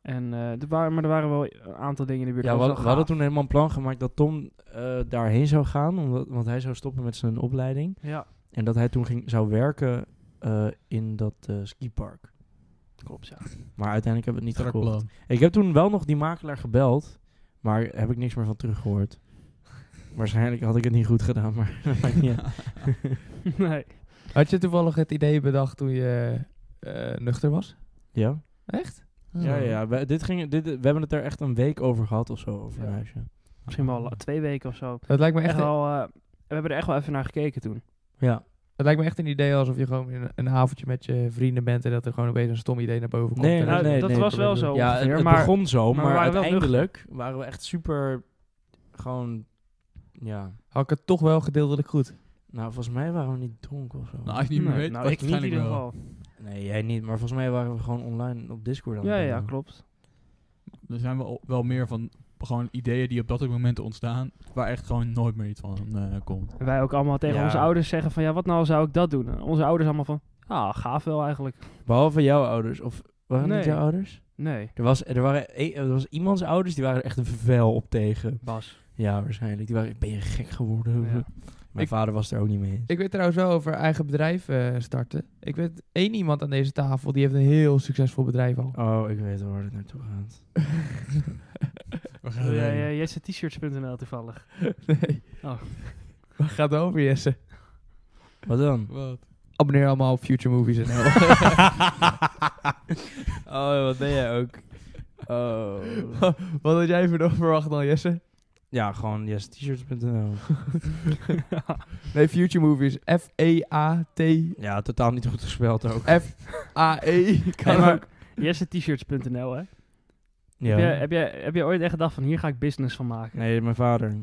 C: En, eh, er waren, maar er waren wel een aantal dingen in de buurt.
B: Ja,
C: Dat
B: we, hadden-
C: was
B: we
C: wel
B: hadden
C: gaaf.
B: toen helemaal een plan gemaakt dat Tom eh, daarheen zou gaan, omdat, want hij zou stoppen met zijn opleiding.
C: Ja,
B: En dat hij toen ging, zou werken eh, in dat eh, skipark.
C: klopt, ja.
B: Maar uiteindelijk hebben we het niet
D: strak
B: gekocht.
D: plan.
B: Ik heb toen wel nog die makelaar gebeld, maar heb ik niks meer van teruggehoord. Waarschijnlijk had ik het niet goed gedaan, maar dat maakt niet uit.
C: nee.
A: had je toevallig het idee bedacht toen je eh, nuchter was?
B: Ja,
A: Echt?
B: ja, ja. We, dit ging, dit, we hebben het er echt een week over gehad of zo, over een
A: Ja.
B: huisje.
C: Misschien wel la- twee weken of zo.
A: Dat lijkt me
C: Echt,
A: echt,
C: wel, eh, we hebben er echt wel even naar gekeken toen.
B: Ja,
A: dat lijkt me echt een idee alsof je gewoon in een, een avondje met je vrienden bent en dat er gewoon opeens een stom idee naar boven komt.
B: Nee,
A: En
B: nou,
A: dat-
B: nee,
C: dat
B: nee,
C: was wel zo
B: ja het,
C: ongeveer,
B: het
C: maar,
B: begon zo,
C: maar
B: maar,
C: we waren wel
B: uiteindelijk waren we echt super, gewoon, ja.
A: Had ik het toch wel gedeeltelijk goed.
B: Nou, volgens mij waren we niet dronken of zo.
D: Nou, als je niet meer
C: Nee,
D: weet,
C: nou,
D: was
C: ik niet in
D: waarschijnlijk
C: ieder
D: wel.
C: geval.
B: nee, jij niet, maar volgens mij waren we gewoon online op Discord aan het
C: Ja, ja,
B: bellen.
C: klopt.
D: Er zijn wel, wel meer van gewoon ideeën die op dat soort momenten ontstaan, waar echt gewoon nooit meer iets van eh, komt.
C: En wij ook allemaal tegen
B: Ja.
C: onze ouders zeggen van, ja, wat nou zou ik dat doen? En onze ouders allemaal van, ah, gaaf wel eigenlijk.
B: Behalve jouw ouders, of waren het
C: Nee.
B: jouw ouders?
C: Nee,
B: Er was, er, waren, e- er was iemands ouders, die waren er echt een vervel op tegen.
C: Bas.
B: Ja, waarschijnlijk. Die waren, ben je gek geworden?
C: Ja.
B: Mijn
A: Ik-
B: vader was er ook niet mee eens.
A: Ik weet trouwens wel over eigen bedrijf eh, starten. Ik weet één iemand aan deze tafel die heeft een heel succesvol bedrijf al.
B: Oh, ik weet waar het naartoe gaat.
D: We gaan
C: Ja, ja,
D: erheen.
C: eh, jij zit t-shirts.nl toevallig.
A: nee.
C: Oh.
A: Waar gaat het over, Jesse?
B: Wat dan?
D: Wat?
A: Abonneer allemaal op Future Movies en
B: oh, wat ben jij ook? Oh.
A: Wat had jij voor verwacht dan, Jesse?
B: Ja, gewoon yes-t-shirts.nl.
A: Nee, Future Movies. E F-E-A-T-A-E.
B: Ja, totaal niet goed gespeeld ook.
A: E. Kan
C: Nee, maar-
A: ook.
C: Jesse t-shirts.nl, hè?
B: Ja.
C: Heb, jij, heb, jij, heb jij ooit echt gedacht van, hier ga ik business van maken?
B: Nee, mijn vader.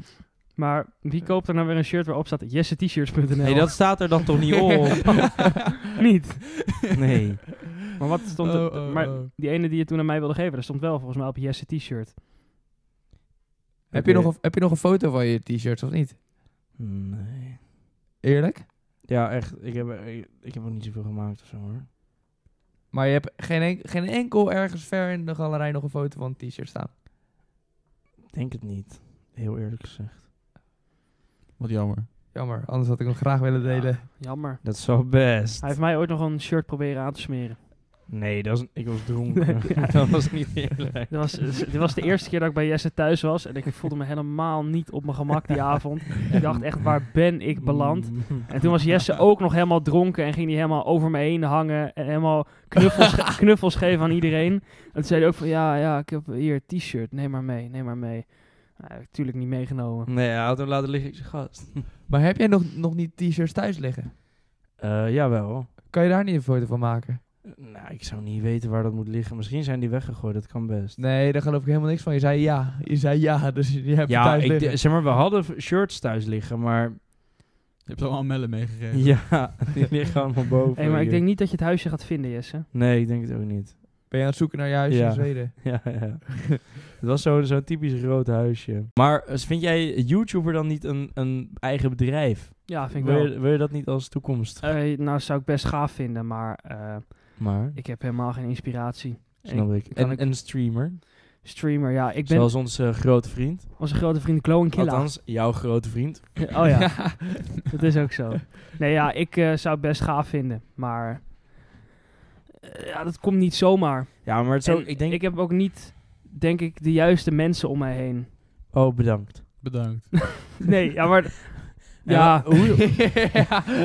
C: Maar wie koopt er nou weer een shirt waarop staat jessetshirts.nl?
B: Nee, dat staat er dan toch niet op?
C: niet.
B: Nee.
C: Maar wat stond er?
D: Oh, oh,
C: maar
D: oh.
C: die ene die je toen aan mij wilde geven, daar stond wel volgens mij op Jesse T-shirt.
A: Heb, je nog een, heb je nog een foto van je t-shirts of niet?
B: Nee.
A: Eerlijk?
B: Ja, echt. Ik heb, ik, ik heb ook niet zoveel gemaakt of zo hoor.
A: Maar je hebt geen, en- geen enkel ergens ver in de galerij nog een foto van een t-shirt staan.
B: Ik Denk het niet. Heel eerlijk gezegd.
D: Wat jammer.
A: Jammer, anders had ik hem graag willen delen.
C: Jammer.
B: Dat zou best.
C: Hij heeft mij ooit nog een shirt proberen aan te smeren.
B: Nee, dat is, ik was dronken. dat was niet eerlijk.
C: Dit was, dit was de eerste keer dat ik bij Jesse thuis was en ik voelde me helemaal niet op mijn gemak die avond. Ik dacht echt, waar ben ik beland? En toen was Jesse ook nog helemaal dronken en ging hij helemaal over me heen hangen en helemaal knuffels, ge- knuffels geven aan iedereen. En toen zei hij ook van, ja, ja, ik heb hier een t-shirt, neem maar mee, neem maar mee. Nou, ik heb natuurlijk niet meegenomen.
B: Nee, hij had hem laten liggen. Ik zeg, gast.
A: Maar heb jij nog, nog niet t-shirts thuis liggen?
B: Ja Eh, jawel.
A: Kan je daar niet een foto van maken?
B: Nou, ik zou niet weten waar dat moet liggen. Misschien zijn die weggegooid. Dat kan best.
A: Nee, daar geloof ik helemaal niks van. Je zei ja. Je zei ja, dus je hebt het
B: Ja,
A: thuis
B: ik,
A: liggen.
B: d- zeg maar, we hadden v- shirts thuis liggen, maar
D: Je hebt allemaal mellen meegegeven.
B: ja, die liggen allemaal boven.
C: Hey, maar ik
B: hier.
C: denk niet dat je het huisje gaat vinden, Jesse.
B: Nee, ik denk het ook niet.
A: Ben je aan het zoeken naar je huisje
B: Ja.
A: in Zweden?
B: Ja, ja. het was zo- zo'n typisch rood huisje. Maar eh, vind jij YouTuber dan niet een, een eigen bedrijf?
C: Ja, vind ik
B: wil,
C: wel.
B: je, wil je dat niet als toekomst?
C: Eh, nou, zou ik best gaaf vinden, maar eh,
B: maar,
C: ik heb helemaal geen inspiratie.
B: snap ik.
C: kan
B: En,
C: ik-
B: en een streamer,
C: Streamer, ja. Ik ben
B: zoals onze grote vriend.
C: onze grote vriend Chloe Killa.
B: Althans, jouw grote vriend.
C: Oh ja, dat is ook zo. Nee, ja, ik eh, zou het best gaaf vinden, maar eh, ja, dat komt niet zomaar.
B: Ja, maar het is ook,
C: En
B: ik denk...
C: ik heb ook niet, denk ik, de juiste mensen om mij heen.
B: Oh, bedankt.
D: Bedankt.
C: Nee, ja, maar...
B: En
C: Ja,
B: wa- hoe-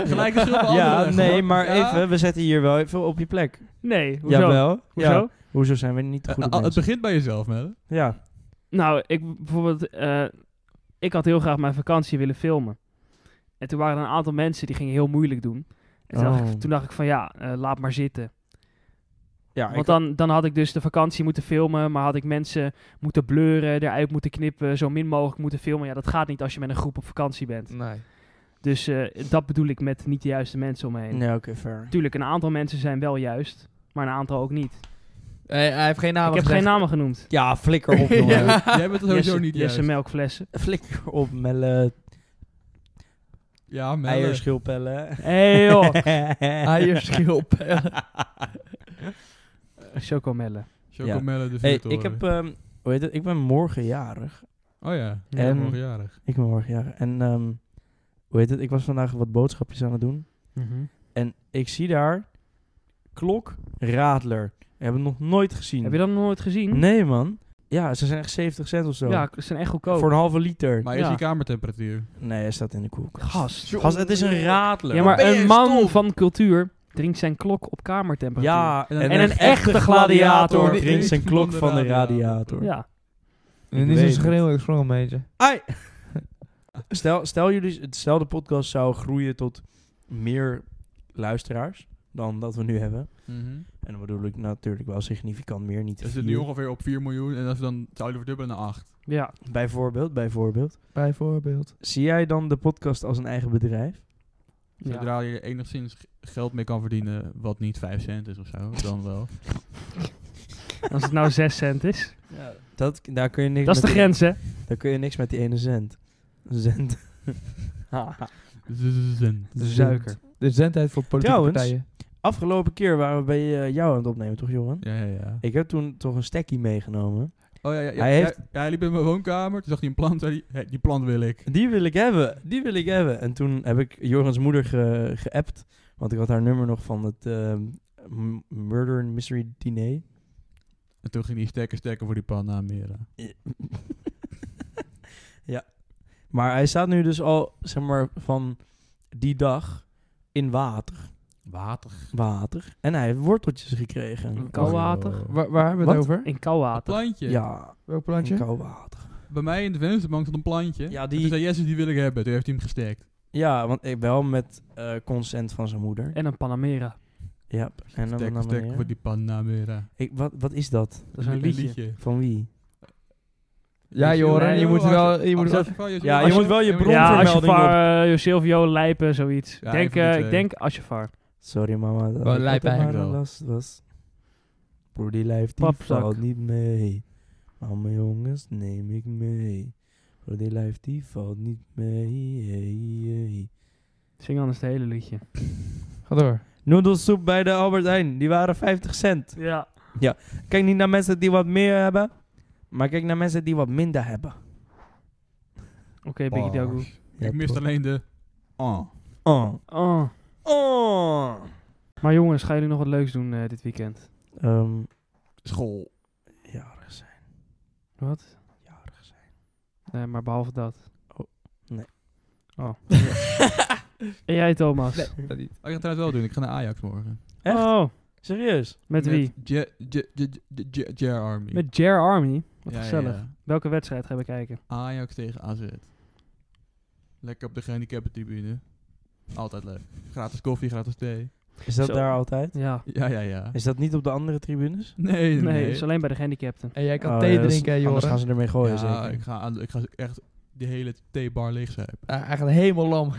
D: Gelijk de schuld bij
B: ja,
D: anderen,
B: nee,
D: hoor.
B: maar
D: Ja.
B: even, we zetten hier wel even op je plek.
C: nee, hoezo?
B: Jawel.
C: Hoezo?
B: Ja. Hoezo zijn we niet de
D: Eh,
B: goede
D: al- het
B: mensen?
D: begint bij jezelf, Melle.
B: Ja.
C: Nou, ik bijvoorbeeld, eh, ik had heel graag mijn vakantie willen filmen. En toen waren er een aantal mensen die gingen heel moeilijk doen. En toen, dacht,
B: Oh.
C: ik, toen dacht ik van ja, eh, laat maar zitten.
B: ja ik-
C: Want dan, dan had ik dus de vakantie moeten filmen, maar had ik mensen moeten bleuren, eruit moeten knippen, zo min mogelijk moeten filmen. Ja, dat gaat niet als je met een groep op vakantie bent.
A: Nee.
C: Dus eh, dat bedoel ik met niet de juiste mensen om me heen.
B: Nee, oké, fair.
C: Natuurlijk, een aantal mensen zijn wel juist, maar een aantal ook niet.
A: Hey, hij heeft geen naam
C: ik heb geen namen genoemd.
B: Ja, flikker op, jongen.
D: Jij bent- Jij bent het sowieso
C: Jesse-
D: niet
C: Jesse
D: juist.
C: melkflessen.
B: Flikker op, melle,
D: Ja, Melle.
B: eierschilpellen.
C: Hé joh,
A: Eierschilpellen.
C: eh, chocomellen.
D: Chocomelle de
B: Hey,
D: Vuurtoren.
B: ik heb, ehm, hoe heet het? Ik ben morgen jarig.
D: Oh ja,
C: Ja.
D: en...
B: En-
D: morgen jarig.
B: Ik ben morgen jarig. En, ehm, hoe heet het? Ik was vandaag wat boodschapjes aan het doen.
D: Mhm.
B: En ik zie daar klok radler. Heb ik nog nooit gezien.
C: Heb je dat nog nooit gezien?
B: Nee, man. Ja, ze zijn echt 70 cent of zo.
C: Ja, ze zijn echt goedkoop.
B: Voor een halve liter.
D: Maar is
C: Ja.
D: die kamertemperatuur?
B: Nee, hij staat in de koelkast.
C: Gast.
B: Gast, het is een radler.
C: Ja, maar
A: Ben je
C: een man
A: stom?
C: van cultuur drinkt zijn klok op kamertemperatuur.
B: Ja,
D: En
C: een echte gladiator
B: drinkt zijn klok van de radiator.
C: Ja.
A: En
B: weet
A: is een
B: het.
A: schreeuw, ik schrok een beetje.
B: Ai. Stel, stel, jullie, stel de podcast zou groeien tot meer luisteraars dan dat we nu hebben.
D: Mhm.
B: En dan bedoel ik natuurlijk wel significant meer, niet
D: We zitten nu
B: vier.
D: ongeveer op 4 miljoen en als we dan zouden verdubbelen naar 8.
C: ja.
B: Bijvoorbeeld, bijvoorbeeld.
A: Bijvoorbeeld.
B: Zie jij dan de podcast als een eigen bedrijf?
C: Ja.
D: Zodra je er enigszins g- geld mee kan verdienen, wat niet 5 cent is of zo, dan wel.
C: Als het nou 6 cent is.
B: Dat, daar kun je niks
C: Dat is de
B: met die-
C: grens, hè?
B: daar kun je niks met die ene cent. Cent.
D: Zen.
C: Suiker.
A: De zendheid voor politieke
B: Trouwens.
A: partijen.
B: Afgelopen keer waren we bij eh, jou aan het opnemen, toch Johan?
D: Ja, ja, ja.
B: Ik heb toen toch een stekkie meegenomen.
D: Oh ja, ja, ja,
B: Hij
D: ja,
B: heeft-
D: ja, hij liep in mijn woonkamer, toen zag hij een plant, zei hij, "Hé, die plant wil ik.
B: Die wil ik hebben, die wil ik hebben. En toen heb ik Jorans moeder ge- geappt, want ik had haar nummer nog van het ehm, m- Murder and Mystery Diner.
D: En toen ging hij stekken stekken voor die plant naar Meren.
B: ja. Maar hij staat nu dus al, zeg maar, van die dag in water.
D: Water.
B: water. En hij heeft worteltjes gekregen.
C: Koud water?
A: Waar, waar hebben we het
B: Wat?
A: over?
C: In koud water.
D: Plantje.
B: Ja,
A: Welk
B: in
A: plantje?
B: koud water.
D: Bij mij in de vensterbank stond een plantje.
B: Ja,
D: En
B: die-
D: Toen zei Jesse, die wil ik hebben. Toen heeft hij hem gestekt.
B: Ja, want ik wel met eh, consent van zijn moeder.
C: En een Panamera.
B: Ja, en dan
D: Stekken stekken voor die plant naar Meren.
B: ik, wat, wat is dat?
C: Dat is een liedje.
B: Van wie?
A: Ja, Joran,
C: Nee,
A: je moet wel... Je moet wel
D: Als je-
B: Ja, je
D: als
B: moet wel je bron-
C: Ja, als je
B: Bronvermelding
C: var, eh, Silvio, Lijpen, zoiets.
D: Ja,
C: denk,
D: een van die
C: eh, ik
D: twee.
C: denk Asjefar.
B: Sorry mama, dat
A: Wel
B: ik
A: lijp
B: altijd maar
D: eigenlijk
B: een
D: wel.
B: last was. Broer, die lijf die
C: Papzak.
B: valt niet mee. Maar mijn jongens neem ik mee. Broer, die lijf die valt niet mee. Hey, hey.
C: Zing anders het hele liedje.
A: Ga door.
B: Noedelsoep bij de Albert Heijn, die waren 50 cent.
C: Ja.
B: Kijk niet naar mensen die wat meer hebben, maar kijk naar mensen die wat minder hebben.
C: Oké,
B: Oh.
C: Biggie Dagoe.
D: Bars. Oh, Ik mist
B: toch?
D: alleen de... Oh.
B: Oh.
C: Oh.
B: Oh.
C: Maar jongens, gaan jullie nog wat leuks doen eh, dit weekend?
B: Ehm,
D: School.
B: jarig zijn.
C: Wat?
B: Jarig zijn.
C: Nee, maar behalve dat.
B: Oh, nee.
C: Oh. en jij, Thomas?
D: Oh, ik ga het trouwens wel doen. Ik ga naar Ajax morgen.
B: Echt?
C: Oh,
B: Serieus?
C: met wie?
D: J- J- J- J- J- J- Army.
C: Met Jer Army. Wat
D: Ja, ja,
C: gezellig.
D: ja.
C: Welke wedstrijd gaan we kijken?
D: Ajax tegen AZ. Lekker op de gehandicaptentribune. Altijd leuk. Gratis koffie, gratis thee.
B: Is dat
C: Zo.
B: daar altijd?
C: Ja.
D: Ja, ja, ja.
B: Is dat niet op de andere tribunes?
D: Nee, nee,
C: Nee,
D: nee.
C: het is alleen Oh, bij de gehandicapten.
A: En jij kan
B: Oh,
A: thee
B: ja, dat is-
A: drinken, hè,
B: Anders gaan
A: Joran.
B: ze ermee gooien,
D: ja,
B: zeker.
D: ik ga, aan, ik ga echt die hele theebar leegzuipen.
A: Ah, Hij gaat helemaal lam.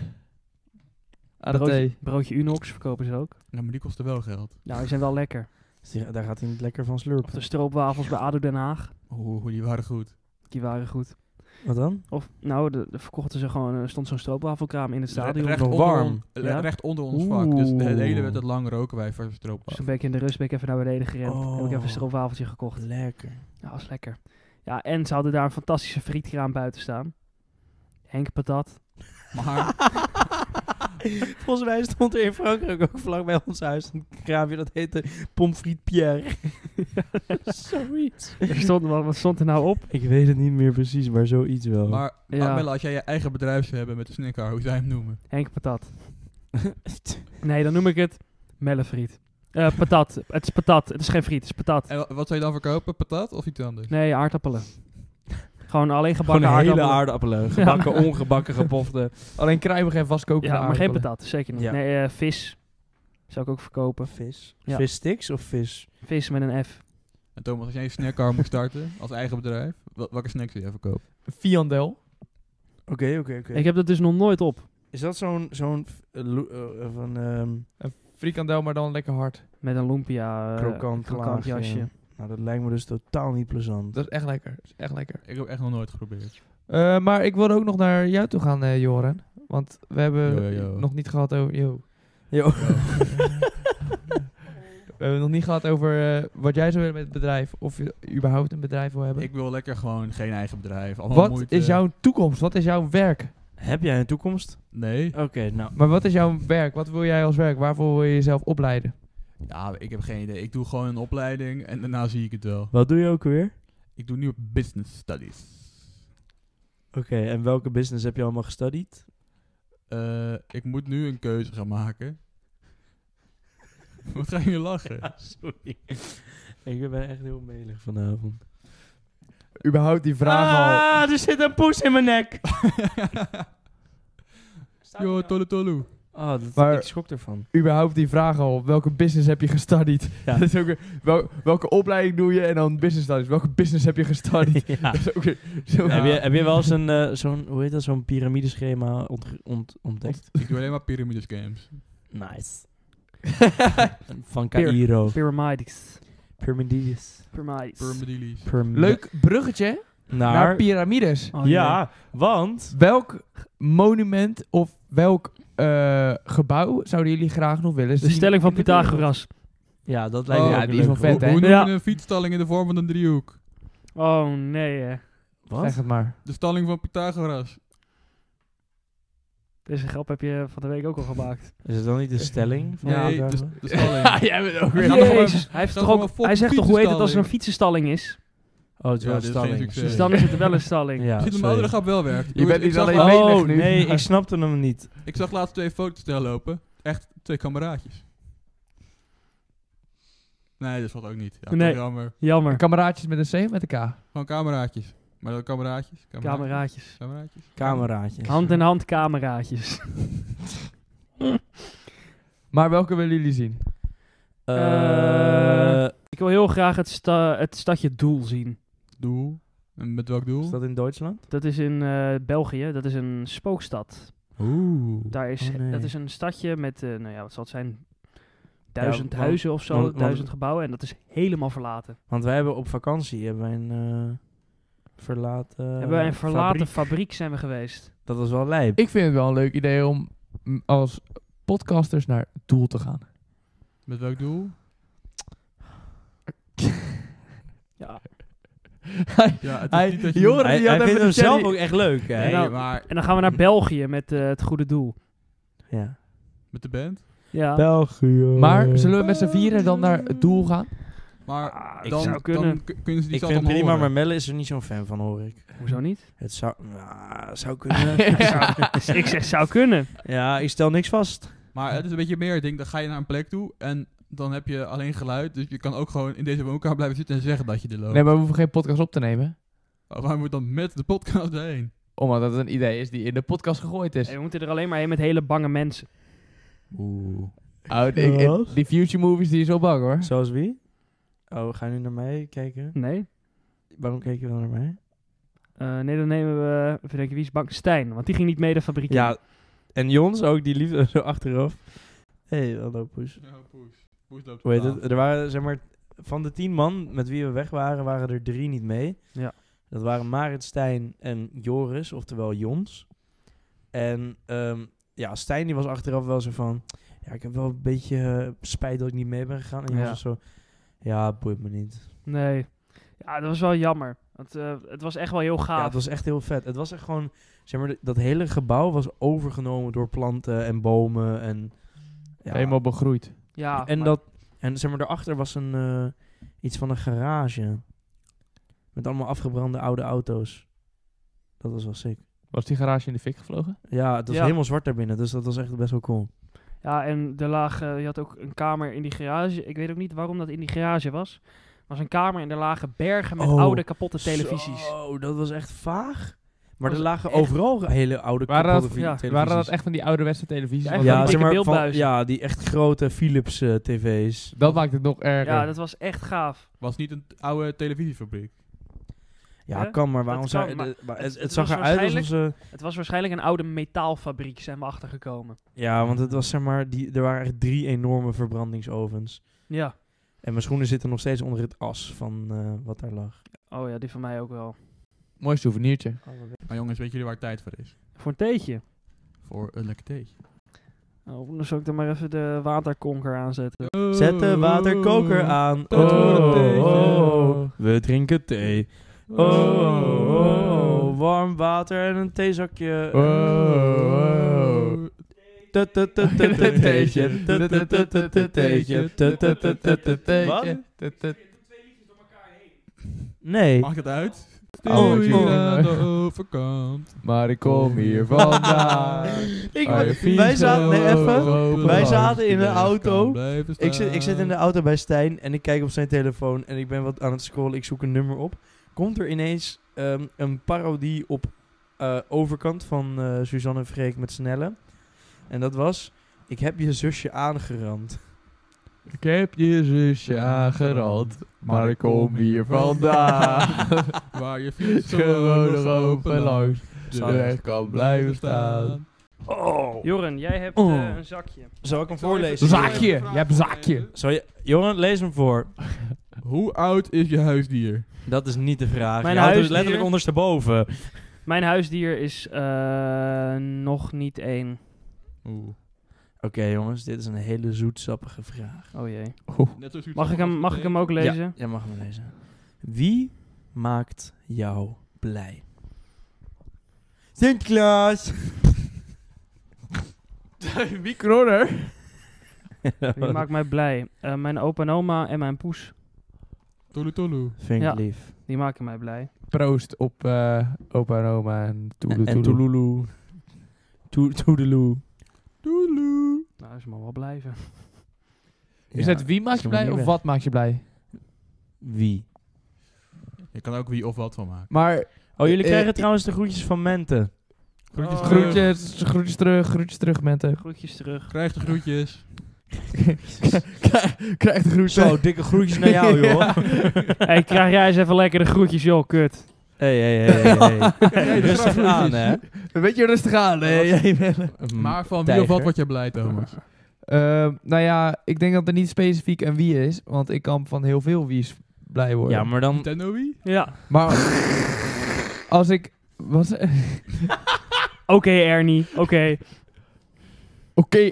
A: Aan de
C: Broodje,
A: thee.
C: broodje Unox verkopen ze ook.
D: Ja, maar die kostte wel geld.
C: Nou, die zijn wel lekker.
B: Dus die- daar gaat hij niet lekker van
C: Of de
B: slurpen.
C: stroopwafels bij ADO Den Haag.
D: Oeh, die waren goed.
C: Die waren goed.
B: Wat dan?
C: Of, nou, de, de verkochten ze gewoon, er stond zo'n stroopwafelkraam in het stadion.
D: Re-
C: Dus
D: recht
B: nog
D: onder
B: warm.
D: ons- re-
C: Ja?
D: Recht onder ons vak. Dus de, de hele
B: Oeh.
D: wedstrijd lang roken wij voor stroopwafel.
C: toen ben ik Dus in de rust ben ik even naar beneden gerend. Heb ik even
B: Oh.
C: een stroopwafeltje gekocht.
B: Lekker.
C: Ja, was lekker. Ja, en ze hadden daar een fantastische frietkraam buiten staan. Henk Patat.
D: Maar
B: Volgens mij stond er in Frankrijk ook vlak bij ons huis een kraampje dat heette Pomfriet Pierre. zoiets.
C: Er stond, wat, wat stond er nou op?
B: Ik weet het niet meer precies, maar zoiets wel.
D: Maar
C: Ja.
D: Amella, als jij je eigen bedrijf zou hebben met de snicker, hoe zou je hem noemen?
C: Henk Patat. Nee, dan noem ik het Mellefriet. Eh, patat. Het is patat. Het is geen friet, het is patat.
B: Eh.
D: En wa- wat zou je dan verkopen? Patat of iets anders?
C: Nee, aardappelen. Gewoon alleen
B: Gewoon
C: gebakken
B: een hele
C: aardappelen.
A: Eh,
B: aardappelen. Gebakken, ongebakken, gepofte.
A: Alleen kruimig en vastkoken.
C: ja,
A: van
C: maar geen
A: aardappelen.
C: patat. Zeker niet.
B: Ja.
C: Nee, eh, vis. Zou ik ook verkopen.
B: Vis.
C: Ja.
B: Vissticks of vis?
C: Vis met een F.
D: En Thomas, als jij een snackbar moet starten als eigen bedrijf, wel- welke snacks zou jij verkopen?
A: Fiandel.
B: Oké, oké, oké.
C: Ik heb dat dus nog nooit op.
B: Is dat zo'n... zo'n f- eh, lo- eh, eh, van, ehm,
A: Een frikandel, maar dan lekker hard.
C: Met een lumpia eh,
B: Krokant laagje.
C: jasje.
B: nou, dat lijkt me dus totaal niet plezant.
A: Dat is echt lekker. Dat is echt lekker.
D: Ik heb echt nog nooit geprobeerd.
A: Eh, maar ik wilde ook nog naar jou toe gaan, eh, Joren. Want we hebben
D: Yo, yo, yo.
A: nog niet gehad over... Yo.
B: Yo.
A: We hebben nog niet gehad over eh, wat jij zou willen met het bedrijf. Of je überhaupt een bedrijf wil hebben.
D: Ik wil lekker gewoon geen eigen bedrijf. Allemaal
A: wat
D: moeite.
A: is jouw toekomst? Wat is jouw werk?
B: Heb jij een toekomst?
D: Nee.
B: Oké, nou.
A: Maar wat is jouw werk? Wat wil jij als werk? Waarvoor wil je jezelf opleiden?
D: Ja, ik heb geen idee. Ik doe gewoon een opleiding en daarna zie ik het wel.
B: Wat doe je ook weer?
D: Ik doe nu business studies.
B: Oké, en welke business heb je allemaal gestudied?
D: Eh, ik moet nu een keuze gaan maken. Wat ga je lachen?
B: sorry. ik ben echt heel melig vanavond. Ah,
A: Überhaupt die vraag al.
B: er zit een poes in mijn nek!
D: Yo, tolu tolu.
B: Oh, dat,
A: Maar-
B: ik schrok ervan.
A: Überhaupt die vraag al. Welke business heb je gestudied?
B: Ja.
A: Dat is ook weer- wel- welke opleiding doe je en dan business studies? Welke business heb je gestudied?
B: ja.
A: Dat is ook weer zo-
B: Heb, je, heb je wel eens een, eh, zo'n, hoe heet dat, zo'n piramideschema ont, ont, ontdekt?
D: Ik doe alleen maar pyramides games.
B: Nice. Van Cairo.
C: Pyramides.
B: Pyramides.
C: Pyramides.
D: Pyramides.
A: Leuk bruggetje hè, naar
B: Naar...
A: piramides.
C: Oh, nee.
B: ja, want...
A: Welk monument of welk eh, gebouw zouden jullie graag nog willen zien?
C: De stelling van
A: in wereld?
C: Pythagoras.
B: Ja, dat lijkt me
A: ja,
B: ook
A: die
B: een
A: is wel
B: leuke
A: vet,
D: Hoe,
B: oefening.
A: hè?
D: hoe noem
C: Ja.
D: je een fietsstalling in de vorm van een driehoek?
C: Oh nee, hè.
A: Zeg
B: Wat?
A: het maar.
D: De stalling van Pythagoras.
C: Deze grap heb je van de week ook al gemaakt.
B: Is het dan niet de stelling? Van
D: Nee,
B: Pythagoras?
D: de, de stalling.
A: jij bent ook
D: Ja,
A: Ja,
D: maar-
C: Jezus, hij, heeft
D: dat
C: toch
D: is
C: ook,
D: gewoon
C: hij
D: een
C: zegt toch hoe heet het als er een fietsenstalling is?
B: Oh, het is
D: Ja,
B: wel een
D: dit is geen
B: stalling.
D: succes.
C: Dus dan is het wel een stalling.
B: Ja,
D: Ziet hem
B: sorry.
D: andere grap wel werkt.
A: Je bent
D: ik
A: niet
D: zag
A: alleen
D: laatst-
A: menig
B: Oh,
A: nu.
B: nee, ik snapte hem niet.
D: Ik zag laatst twee foto's daar lopen. Echt twee kameraadjes. Nee, dat valt ook niet. Ja,
C: Nee.
D: toch jammer.
C: Jammer.
A: Kameraadjes met een C of met een K?
D: Gewoon kameraadjes. Maar dan kameraadjes. Kameraadjes.
C: Cameraatjes.
D: kameraadjes.
B: Cameraatje.
C: Hand in hand cameraatjes.
A: Maar welke willen jullie zien?
B: Eh,
C: Ik wil heel graag het, sta- het stadje Doel zien.
D: Doel. En met welk
B: Is
D: doel?
B: dat in Duitsland?
C: Dat is in eh, België, dat is een spookstad.
D: Oeh.
C: Daar is,
B: Oh, nee.
C: Dat is een stadje met, eh, nou ja, wat zal het zijn, duizend
B: want-
C: huizen of zo,
B: want- want-
C: duizend gebouwen. En dat is helemaal verlaten.
B: Want wij hebben op vakantie hebben wij een eh, verlaten.
C: Hebben wij een verlaten
B: fabriek.
C: fabriek. zijn we geweest.
B: Dat was wel lijp.
A: Ik vind het wel een leuk idee om mm, als podcasters naar het doel te gaan.
D: Met welk doel?
C: Ja.
D: Ja, het is
A: Hij-
D: niet dat je...
A: Joren-
B: hij
A: die had
B: hij
A: even
B: vindt
A: de
B: hem zelf
A: cherry-
B: ook echt leuk, hè?
D: Nee,
C: Nou-
D: maar
C: En dan gaan we naar België met eh, het goede doel.
B: Ja.
D: met de band.
C: Ja.
B: België.
A: Maar zullen we met z'n vieren dan naar het doel gaan?
D: Maar
C: Ah,
B: ik
D: dan,
C: zou kunnen.
D: dan kun- kunnen ze die
B: Ik vind
D: zelf allemaal
B: prima, maar
D: horen.
B: Melle is er niet zo'n fan van, hoor ik.
C: Hoezo niet?
B: Het zou, nou, zou kunnen.
C: ik zeg zou kunnen.
B: ja, ik stel niks vast.
D: Maar het is een beetje meer het ding, dan ga je naar een plek toe en dan heb je alleen geluid. Dus je kan ook gewoon in deze woonkamer blijven zitten en zeggen dat je er loopt.
A: Nee, maar we hoeven geen podcast op te nemen.
D: Oh, Waar moet dan met de podcast heen?
A: Omdat het een idee is die in de podcast gegooid is.
B: Dus-
C: Hey, we moeten er alleen maar heen met hele bange mensen.
D: Oeh.
A: Oh, ik- ik- die future movies die is wel bang hoor.
B: Zoals wie? Oh, ga je nu naar mij kijken?
C: Nee?
B: Waarom keek je dan naar mij?
C: Eh, nee, dan nemen we... Even denken, wie is bang? Stijn, want die ging niet mee de fabriek in.
B: Ja, en Jons ook, die liefde zo achteraf. Hé, hey, hallo poes.
D: Ja, Nou, poes. Poes loopt
B: Hoe heet
C: Ah.
D: te laat.
B: het? Er waren, zeg maar, van de tien man met wie we weg waren, waren er drie niet mee.
C: Ja.
B: Dat waren Marit, Stijn en Joris, oftewel Jons. En ehm, ja, Stijn die was achteraf wel zo van... Ja, ik heb wel een beetje eh, spijt dat ik niet mee ben gegaan. En Jons
C: Ja.
B: was zo... Ja, boeit me niet.
C: Nee. Ja, dat was wel jammer. Want, eh, het was echt wel heel gaaf.
B: Ja, het was echt heel vet. Het was echt gewoon, zeg maar, dat hele gebouw was overgenomen door planten en bomen en... Ja,
A: Helemaal begroeid.
C: Ja,
B: en
C: maar-
B: dat, en zeg maar, daarachter was een, eh, iets van een garage. Met allemaal afgebrande oude auto's. Dat was wel sick.
A: Was die garage in de fik gevlogen?
B: Ja, het was
C: Ja.
B: helemaal zwart daarbinnen, dus dat was echt best wel cool.
C: Ja, en er lag, eh, je had ook een kamer in die garage. Ik weet ook niet waarom dat in die garage was. Er was een kamer en er lagen bergen met
B: Oh,
C: oude kapotte televisies.
B: Oh, dat was echt vaag. Maar
C: Was
B: er lagen
C: echt-
B: overal hele oude
A: Waren
B: kapotte
A: dat-
B: vi-
C: ja,
B: televisies.
A: Waren dat echt van die ouderwetse televisies?
C: Ja,
A: Want
C: echt van
B: ja,
A: dat,
C: die
B: zeg maar,
C: dikke
B: van,
C: beeldbuizen?
B: ja, die echt grote Philips eh, tv's.
A: dat maakt het nog erger.
C: Ja, dat was echt gaaf.
D: Was niet een t- oude televisiefabriek.
B: Ja,
C: Ja,
B: kan, maar waarom
C: dat
B: zou...
C: kan,
B: eh,
C: maar
B: de- maar
C: het-
B: het, het,
C: het
B: zag
C: was
B: eruit alsof
C: waarschijnlijk-
B: ze...
C: Het was waarschijnlijk een oude metaalfabriek, zijn we achtergekomen.
B: Ja, want het was zeg maar... Die, er waren echt drie enorme verbrandingsovens.
C: Ja.
B: En mijn schoenen zitten nog steeds onder het as van eh, wat daar lag.
C: Oh ja, die van mij ook wel.
A: Mooi souvenirtje.
D: Maar jongens, weet jullie waar tijd voor is?
C: Voor een theetje.
D: Voor een lekker theetje.
C: Oh, dan zal ik er maar even de waterkonker aanzetten.
B: Zet de waterkoker aan.
D: Oh, oh,
A: oh.
B: We drinken thee. Oh, oh, oh. warm water en een theezakje. Oh. Theetje. Theetje. Wat? Nee.
D: Mag ik het uit?
A: Oh,
D: Doei
A: oh.
D: aan de overkant.
A: Maar ik kom hier
B: Oh,
A: vandaan.
B: Ik,
A: Ah, je fiets
B: wij zaten... Nee,
A: over
B: even.
A: open
B: Wij
A: land.
B: zaten in de
D: Iedereen
B: auto.
D: kan blijven
B: Ik zit, ik zit in de
D: staan.
B: auto bij Stijn en ik kijk op zijn telefoon en ik ben wat aan het scrollen. Ik zoek een nummer op. Komt er ineens ehm, een parodie op eh, Overkant van eh, Suzanne en Freek met Snelle. En dat was, ik heb je zusje aangerand.
A: Ik heb je zusje aangerand, maar ik kom hier vandaan.
D: Waar je fiets
A: Gewoon nog open langs, de
B: Zou-
A: weg kan blijven staan.
B: Oh.
C: Joren, jij hebt
B: Oh.
C: eh, een zakje.
B: Zal ik hem
A: even-
B: voorlezen?
A: Zaakje. Je hebt zaakje.
B: Zal je, Johan, lees hem voor.
D: Hoe oud is je huisdier?
B: Dat is niet de vraag.
C: Mijn
B: je houdt dus
C: huisdier-
B: letterlijk ondersteboven.
C: Mijn huisdier is eh, nog niet één.
D: Oeh.
B: Oké jongens, dit is een hele zoetsappige vraag.
C: Oh jee. Mag ik hem, mag ik hem ook lezen?
B: Ja, jij mag hem lezen. Wie maakt jou blij? Sint-Klaas!
A: Wie kroner?
C: Die maakt mij blij. Eh, mijn opa en oma en mijn poes,
D: Tolu tolu.
B: Vind ik
C: Ja.
B: lief.
C: die maken mij blij.
A: Proost op eh, opa en oma en
B: En-
A: toeloe
B: en
A: toeloe.
B: Toeloeloe. Toe- Toedeloe.
D: Doeloe.
C: Nou, ze mag wel blijven.
A: Is
B: Ja,
A: het wie maakt
B: ze
A: je
B: mag
A: blij
B: niet
A: of
B: weg.
A: wat maakt je blij?
B: Wie?
D: Je kan ook wie of wat van maken.
A: Maar
B: Oh, jullie
A: Eh,
B: krijgen
A: eh,
B: trouwens de groetjes van Mente.
D: Groetjes
B: Eh,
C: Oh.
D: terug.
A: groetjes, groetjes terug, groetjes terug, mensen.
C: Groetjes terug.
D: Krijg de groetjes.
A: Krijg de groetjes.
B: Zo, dikke groetjes naar jou, joh.
C: hey, krijg jij eens even lekker de groetjes, joh, kut.
B: Hey, hey, hey, hey, hey.
A: Nee, de
B: Rustig
A: grafloertjes.
B: aan, hè.
A: Een beetje rustig aan.
B: Nee,
A: hè?
B: jij wel.
D: Maar van wie
B: Tijger.
D: of wat word jij blij, Thomas?
A: Ehm, nou ja, ik denk dat er niet specifiek een wie is. Want ik kan van heel veel wie's blij worden.
B: Ja, maar dan...
D: Nintendo Wii?
C: Ja.
A: Maar als ik... was Oké,
C: Oké, Ernie. Oké.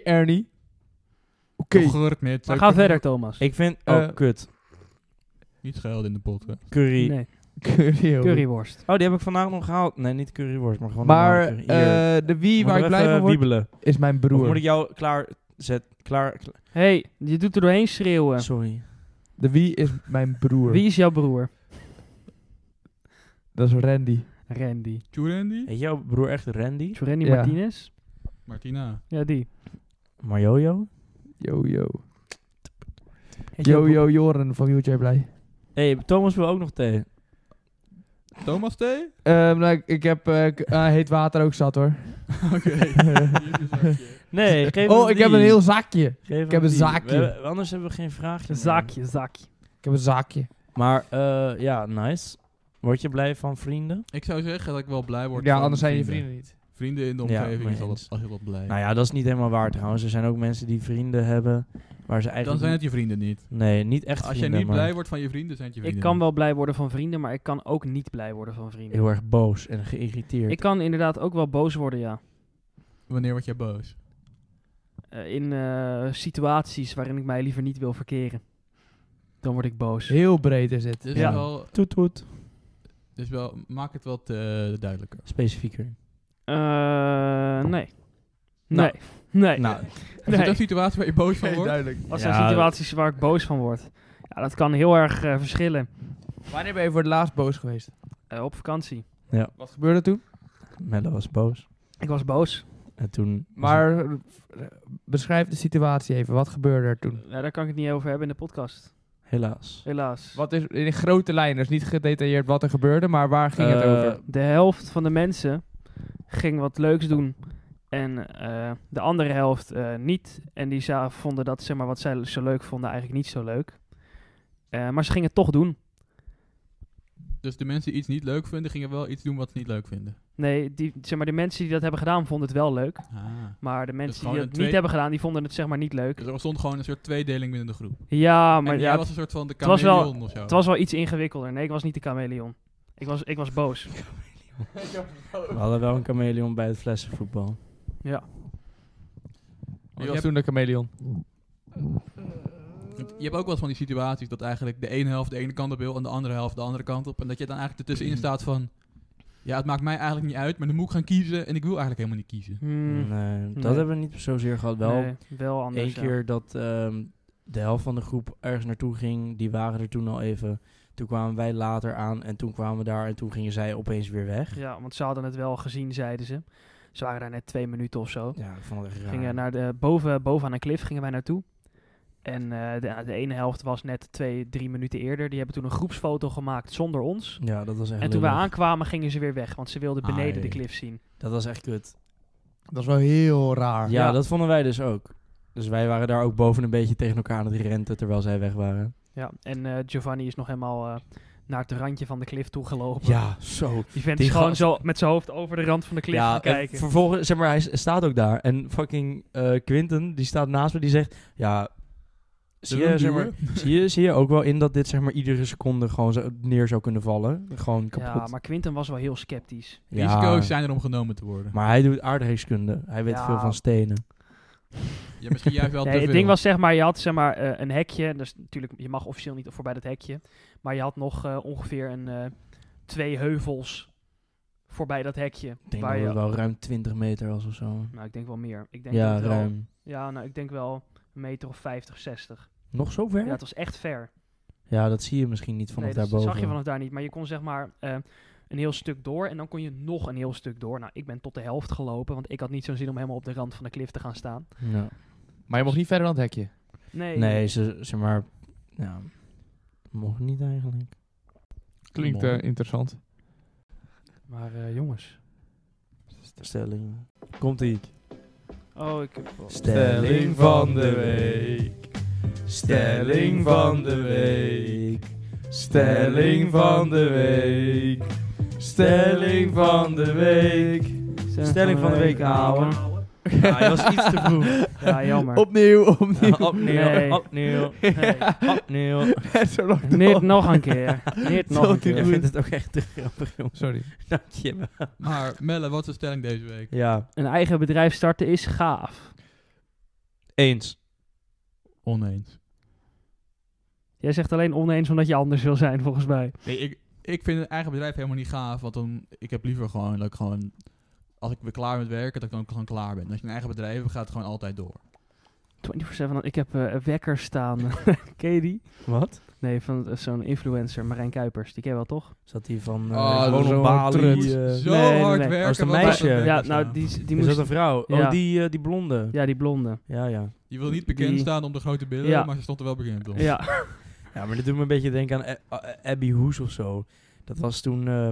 A: Ernie. Oké.
D: Opgerukt met...
C: Maar ga verder, Thomas.
B: Ik vind... Oh,
A: Eh,
B: kut.
D: Niet schelden in de podcast.
B: Curry.
C: Nee.
A: Curry.
C: Curryworst.
B: Oh, die heb ik vandaag nog gehaald. Nee, niet curryworst, maar gewoon...
A: Maar
B: normale curry. Hier.
A: eh, de wie
B: Moet
A: waar
B: nog
A: ik blij
B: even
A: van word,
B: wiebelen.
A: is mijn
B: Of moet
A: broer.
B: ik jou klaar zet, klaar, kla-
C: hey, je doet er doorheen schreeuwen.
B: Sorry.
A: De wie is mijn broer.
C: Wie is jouw broer?
A: Dat is Randy.
C: Randy.
D: Tjurendi?
B: Heet jouw broer echt Randy?
C: Is Randy
A: Ja.
C: Martinez?
D: Martina.
C: Ja, die.
B: Marjojo?
A: Yo, yo.
C: Heet jouw
A: Yo,
C: broer-
A: yo, Joren van Wheelchair Blij.
B: Hé, hey, Thomas wil ook nog thee.
D: Thomas T? Oké.
A: Ehm, nou, ik, ik heb eh, k- ah, heet water ook zat hoor.
D: Hier is een zakje.
B: Nee, geef
A: oh,
B: hem
A: ik heb
B: die.
A: een heel zakje.
B: Geef
A: ik
B: hem
A: heb een
B: die.
A: zaakje.
B: We hebben- anders hebben we geen vraagje meer.
C: Zakje, zakje.
A: Ik heb een zakje.
B: Maar eh, ja, nice. Word je blij van vrienden?
D: Ik zou zeggen dat ik wel blij word
A: ja,
D: van
A: anders zijn je vrienden niet.
D: Vrienden in de
B: Ja,
D: omgeving
B: mee
D: is altijd
B: eens.
D: altijd wel blij.
B: Nou ja, dat is niet helemaal waar trouwens. Er zijn ook mensen die vrienden hebben waar ze eigenlijk...
D: Dan zijn het
B: niet-
D: je vrienden niet.
B: Nee, niet echt
D: Als jij
B: vrienden,
D: niet
B: maar
D: blij wordt van je vrienden, zijn het je
C: Ik
D: vrienden
C: kan
D: niet.
C: wel blij worden van vrienden, maar ik kan ook niet blij worden van vrienden.
B: Heel erg boos en geïrriteerd.
C: Ik kan inderdaad ook wel boos worden, ja.
D: Wanneer word jij boos?
C: Eh, in eh, situaties waarin ik mij liever niet wil verkeren. Dan word ik boos.
A: Heel breed is het.
D: Dus
C: Ja.
D: wel,
B: Toet toet.
D: dus wel, maak het wat eh, duidelijker.
B: Specifieker.
C: Eh, nee.
B: Nou.
C: Nee. Nee.
B: Nou,
D: Is
C: Nee.
D: het een situatie waar je boos van wordt?
A: duidelijk.
C: Wat zijn
B: Ja.
C: situaties waar ik boos van word? Ja, dat kan heel erg eh, verschillen.
A: Wanneer ben je voor het laatst boos geweest?
C: Eh, op vakantie.
A: Wat gebeurde toen?
B: Melle was boos.
C: Ik was boos.
B: En toen... was
A: Maar eh, beschrijf de situatie even. Wat gebeurde er toen?
C: Ja, daar kan ik het niet over hebben in de podcast.
B: het Helaas.
C: Helaas.
A: Wat is in grote lijnen, dus niet gedetailleerd wat er gebeurde, maar waar ging het
B: Eh,
A: over?
C: De helft van de mensen ging wat leuks doen. En eh, de andere helft eh, niet. En die za- vonden dat zeg maar, wat zij zo leuk vonden eigenlijk niet zo leuk. Eh, maar ze gingen het toch doen.
D: Dus de mensen die iets niet leuk vinden, gingen wel iets doen wat ze niet leuk vinden.
C: Nee, die, zeg maar, de mensen die dat hebben gedaan vonden het wel leuk.
D: Ah.
C: Maar de mensen
D: gewoon
C: die
D: een
C: dat
D: twee-
C: niet hebben gedaan, die vonden het zeg maar niet leuk.
D: Dus er ontstond gewoon een soort tweedeling binnen de groep.
C: Ja, maar
D: en jij
C: ja,
D: was een soort van de
C: was wel-
D: chameleon of zo.
C: het was wel iets ingewikkelder. Nee, ik was niet de chameleon. Ik was, ik was boos.
B: We hadden wel een chameleon bij het flessenvoetbal.
C: Ja.
A: Je
D: je,
A: was
D: hebt,
A: toen de chameleon.
D: je hebt ook wel eens van die situaties dat eigenlijk de ene helft de ene kant op wil en de andere helft de andere kant op. En dat je dan eigenlijk ertussenin
C: Mm-hmm.
D: staat van, ja het maakt mij eigenlijk niet uit, maar dan moet ik gaan kiezen en ik wil eigenlijk helemaal niet kiezen.
C: Hmm,
B: Nee, eh, dat
C: Nee.
B: hebben we niet zozeer gehad. Mm, Wel
C: nee, wel anders.
B: één
C: ja.
B: keer dat ehm, de helft van de groep ergens naartoe ging. Die waren er toen al even. Toen kwamen wij later aan en toen kwamen we daar en toen gingen zij opeens weer weg.
C: Ja, want ze hadden het wel gezien, zeiden ze. Ze waren daar net twee minuten of zo.
B: Ja, ik vond het echt raar.
C: Gingen naar de, boven, boven aan een cliff gingen wij naartoe. En eh, de, de ene helft was net twee, drie minuten eerder. Die hebben toen een groepsfoto gemaakt zonder ons.
B: Ja, dat was echt
C: en toen we
B: lullig.
C: aankwamen, gingen ze weer weg. Want ze wilden
B: Ah,
C: beneden de
B: jee.
C: cliff zien.
B: Dat was echt kut.
A: Dat is wel heel
B: Ja,
A: raar.
B: dat vonden wij dus ook. Dus wij waren daar ook boven een beetje tegen elkaar aan het renten terwijl zij weg waren.
C: Ja, en eh, Giovanni is nog helemaal eh, naar het randje van de cliff toe gelopen.
B: Ja, zo.
C: Die vent
B: die
C: is gewoon
B: gast-
C: zo met zijn hoofd over de rand van de cliff gaan
B: Ja, en
C: kijken.
B: vervolgens, zeg maar, hij s- staat ook daar. En fucking eh, Quinten, die staat naast me, die zegt... Ja, zie
D: Zullen we
B: je,
D: hem
B: zeg maar,
D: duwen?
B: zie, je, zie je ook wel in dat dit zeg maar iedere seconde gewoon zo neer zou kunnen vallen? Gewoon kapot.
C: Ja, maar Quinten was wel heel sceptisch.
B: Ja,
D: Risico's zijn er om genomen te worden.
B: maar hij doet aardrijkskunde. Hij weet
C: Ja.
B: veel van stenen.
D: Ja, misschien juist wel
C: Nee,
D: te
C: het
D: veel.
C: ding was zeg maar, je had zeg maar eh, een hekje. Dus natuurlijk, je mag officieel niet voorbij dat hekje. Maar je had nog eh, ongeveer een, eh, twee heuvels voorbij dat hekje.
B: Ik denk
C: waar
B: dat
C: je,
B: het wel ruim 20 meter was of zo.
C: Nou, ik denk wel meer. Ik denk dat
B: Ja,
C: het wel-
B: ruim.
C: Ja, nou, ik denk wel een meter of 50, 60.
B: Nog zo ver?
C: Ja,
B: Ja,
C: het was echt ver.
B: dat zie je misschien niet vanaf
C: nee, dat
B: daarboven.
C: zag je vanaf daar niet. Maar je kon zeg maar eh, een heel stuk door en dan kon je nog een heel stuk door. Nou, ik ben tot de helft gelopen, want ik had niet zo'n zin om helemaal op de rand van de klif te gaan staan.
B: Ja.
A: Maar je mocht niet verder dan het hekje.
C: Nee,
B: Nee, ze, zeg maar... Ja, mocht niet eigenlijk.
A: Klinkt eh, interessant.
C: maar eh, jongens.
B: Stelling. Komt-ie.
C: Oh, ik...
B: Stelling van de week. Stelling van de week. Stelling van de week. Stelling van de week. Stelling van de week, ouwe. Ja, je was iets te vroeg.
C: Ja, jammer.
A: Opnieuw, opnieuw.
B: Opnieuw,
C: Nee.
B: opnieuw,
C: Nee.
B: opnieuw.
A: Net zo lang door.
B: Oh.
C: Niet nog een keer. Niet nog een
B: Ik
C: keer.
B: vind het ook echt te grappig, jongens.
A: Sorry.
B: Dank je wel.
D: Maar Melle, wat is de stelling deze week?
B: Ja,
C: Een eigen bedrijf starten is gaaf.
B: eens.
D: Oneens.
C: Jij zegt alleen oneens omdat je anders wil zijn, volgens mij.
D: Nee, ik, ik vind een eigen bedrijf helemaal niet gaaf. Want dan, ik heb liever gewoon dat ik gewoon... Als ik weer klaar met werken, dat ik dan ook gewoon klaar ben. Als je een eigen bedrijf hebt, gaat het gewoon altijd door.
C: 24-7, ik heb eh, een wekker staan. Ken je die?
B: Wat?
C: Nee, van eh, zo'n influencer, Marijn Kuipers. Die ken je wel, toch?
B: Zat hij van eh
D: Oh,
B: gewoon
A: zo'n
B: op Bali?
A: trut.
B: eh,
D: Zo
C: nee, nee,
D: hard
C: nee.
D: werken.
B: Als een
D: wat
B: meisje.
D: dat
B: Ja,
C: Ja,
D: werkt,
C: nou, die, die
B: is dat
C: moest...
B: een vrouw?
C: Ja.
B: Oh, die, eh, die blonde. Ja.
C: Ja, die blonde.
B: ja, ja.
D: Je wil niet bekend
C: die-
D: staan om de grote billen,
C: Ja.
D: maar ze stond er wel bekend om.
C: Ja,
B: maar dat doet me een beetje denken aan A- A- Abby Hoes of zo. Dat was toen... eh,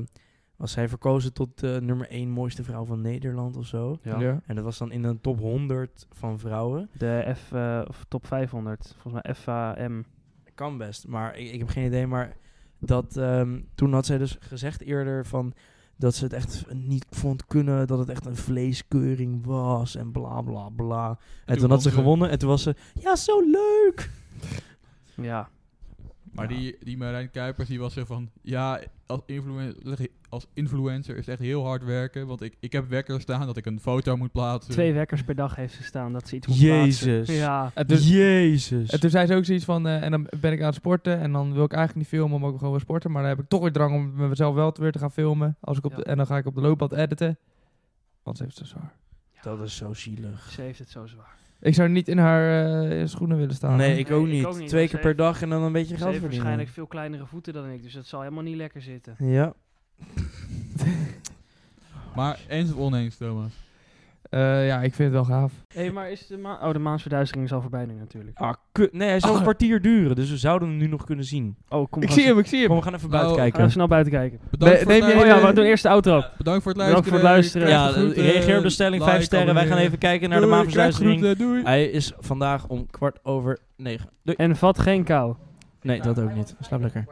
B: was zij verkozen tot eh, nummer 1 mooiste vrouw van Nederland of zo.
A: Ja.
B: En dat was dan in een top 100 van vrouwen.
C: de F, eh, of top 500. Volgens mij FAM.
B: Kan best, maar ik, ik heb geen idee. Maar dat, ehm, toen had zij dus gezegd eerder van dat ze het echt niet vond kunnen, dat het echt een vleeskeuring was en bla bla bla. En, toen,
D: toen
B: had ze
D: won ze.
B: gewonnen en toen was ze, ja, zo leuk!
C: Ja.
D: Maar
B: Ja.
D: die, die Marijn Kuipers die was zo van... Ja, als, influen- als influencer is het echt heel hard werken. Want ik, ik heb wekker staan dat ik een foto moet plaatsen.
C: Twee wekkers per dag heeft ze staan dat ze iets moet
B: Jezus.
C: plaatsen. Ja.
A: En
B: Dus-
A: toen,
B: Jezus.
A: en toen zei ze ook zoiets van, eh, en dan ben ik aan het sporten en dan wil ik eigenlijk niet filmen, maar ik gewoon wel sporten. Maar dan heb ik toch weer drang om mezelf wel weer te gaan filmen. Als ik op
C: Ja.
A: de, en dan ga ik op de loopband editen. Want ze heeft het zo zwaar.
B: Dat is zo zielig.
C: Ze heeft het zo zwaar.
A: Ik zou niet in haar eh, schoenen willen staan.
B: nee,
A: hoor.
B: ik
C: Nee,
B: ook
C: ik
B: niet.
C: ook niet,
B: Twee
C: want
B: keer per
C: ze
B: dag en dan een beetje
C: Ze
B: geld
C: heeft
B: verdienen.
C: waarschijnlijk veel kleinere voeten dan ik, dus dat zal helemaal niet lekker zitten.
B: Ja.
D: Maar eens of oneens, Thomas?
A: Eh, ja, ik vind het wel gaaf.
C: Hé, maar is de maan... Oh, de maansverduistering is al voorbij nu natuurlijk.
B: Ah, kut. Nee, hij zou
D: Oh.
A: Ah.
B: een kwartier duren, dus we zouden hem nu nog kunnen zien.
C: Oh, kom
A: Ik zie hem, ik zie
B: Kom,
A: hem.
B: we gaan even
D: Oh,
B: buiten
C: Ga even
B: kijken.
C: snel buiten kijken.
D: Bedankt
A: Nee,
D: voor
A: neem je-
D: het
C: Oh
D: luisteren.
C: ja, we doen eerst de outro.
D: Bedankt voor het luisteren.
C: Bedankt voor het luisteren.
B: Ja,
D: Krijg groeten.
B: reageer op de sterren,
D: Like,
B: 5 sterren. Wij gaan
D: abonneer.
B: even kijken naar de
D: Doei,
B: maanverduistering.
D: krijg groeten. Doei.
B: Hij is vandaag om kwart over negen. Doei.
C: En vat geen kou.
B: Nee, dat ook niet. Slaap lekker.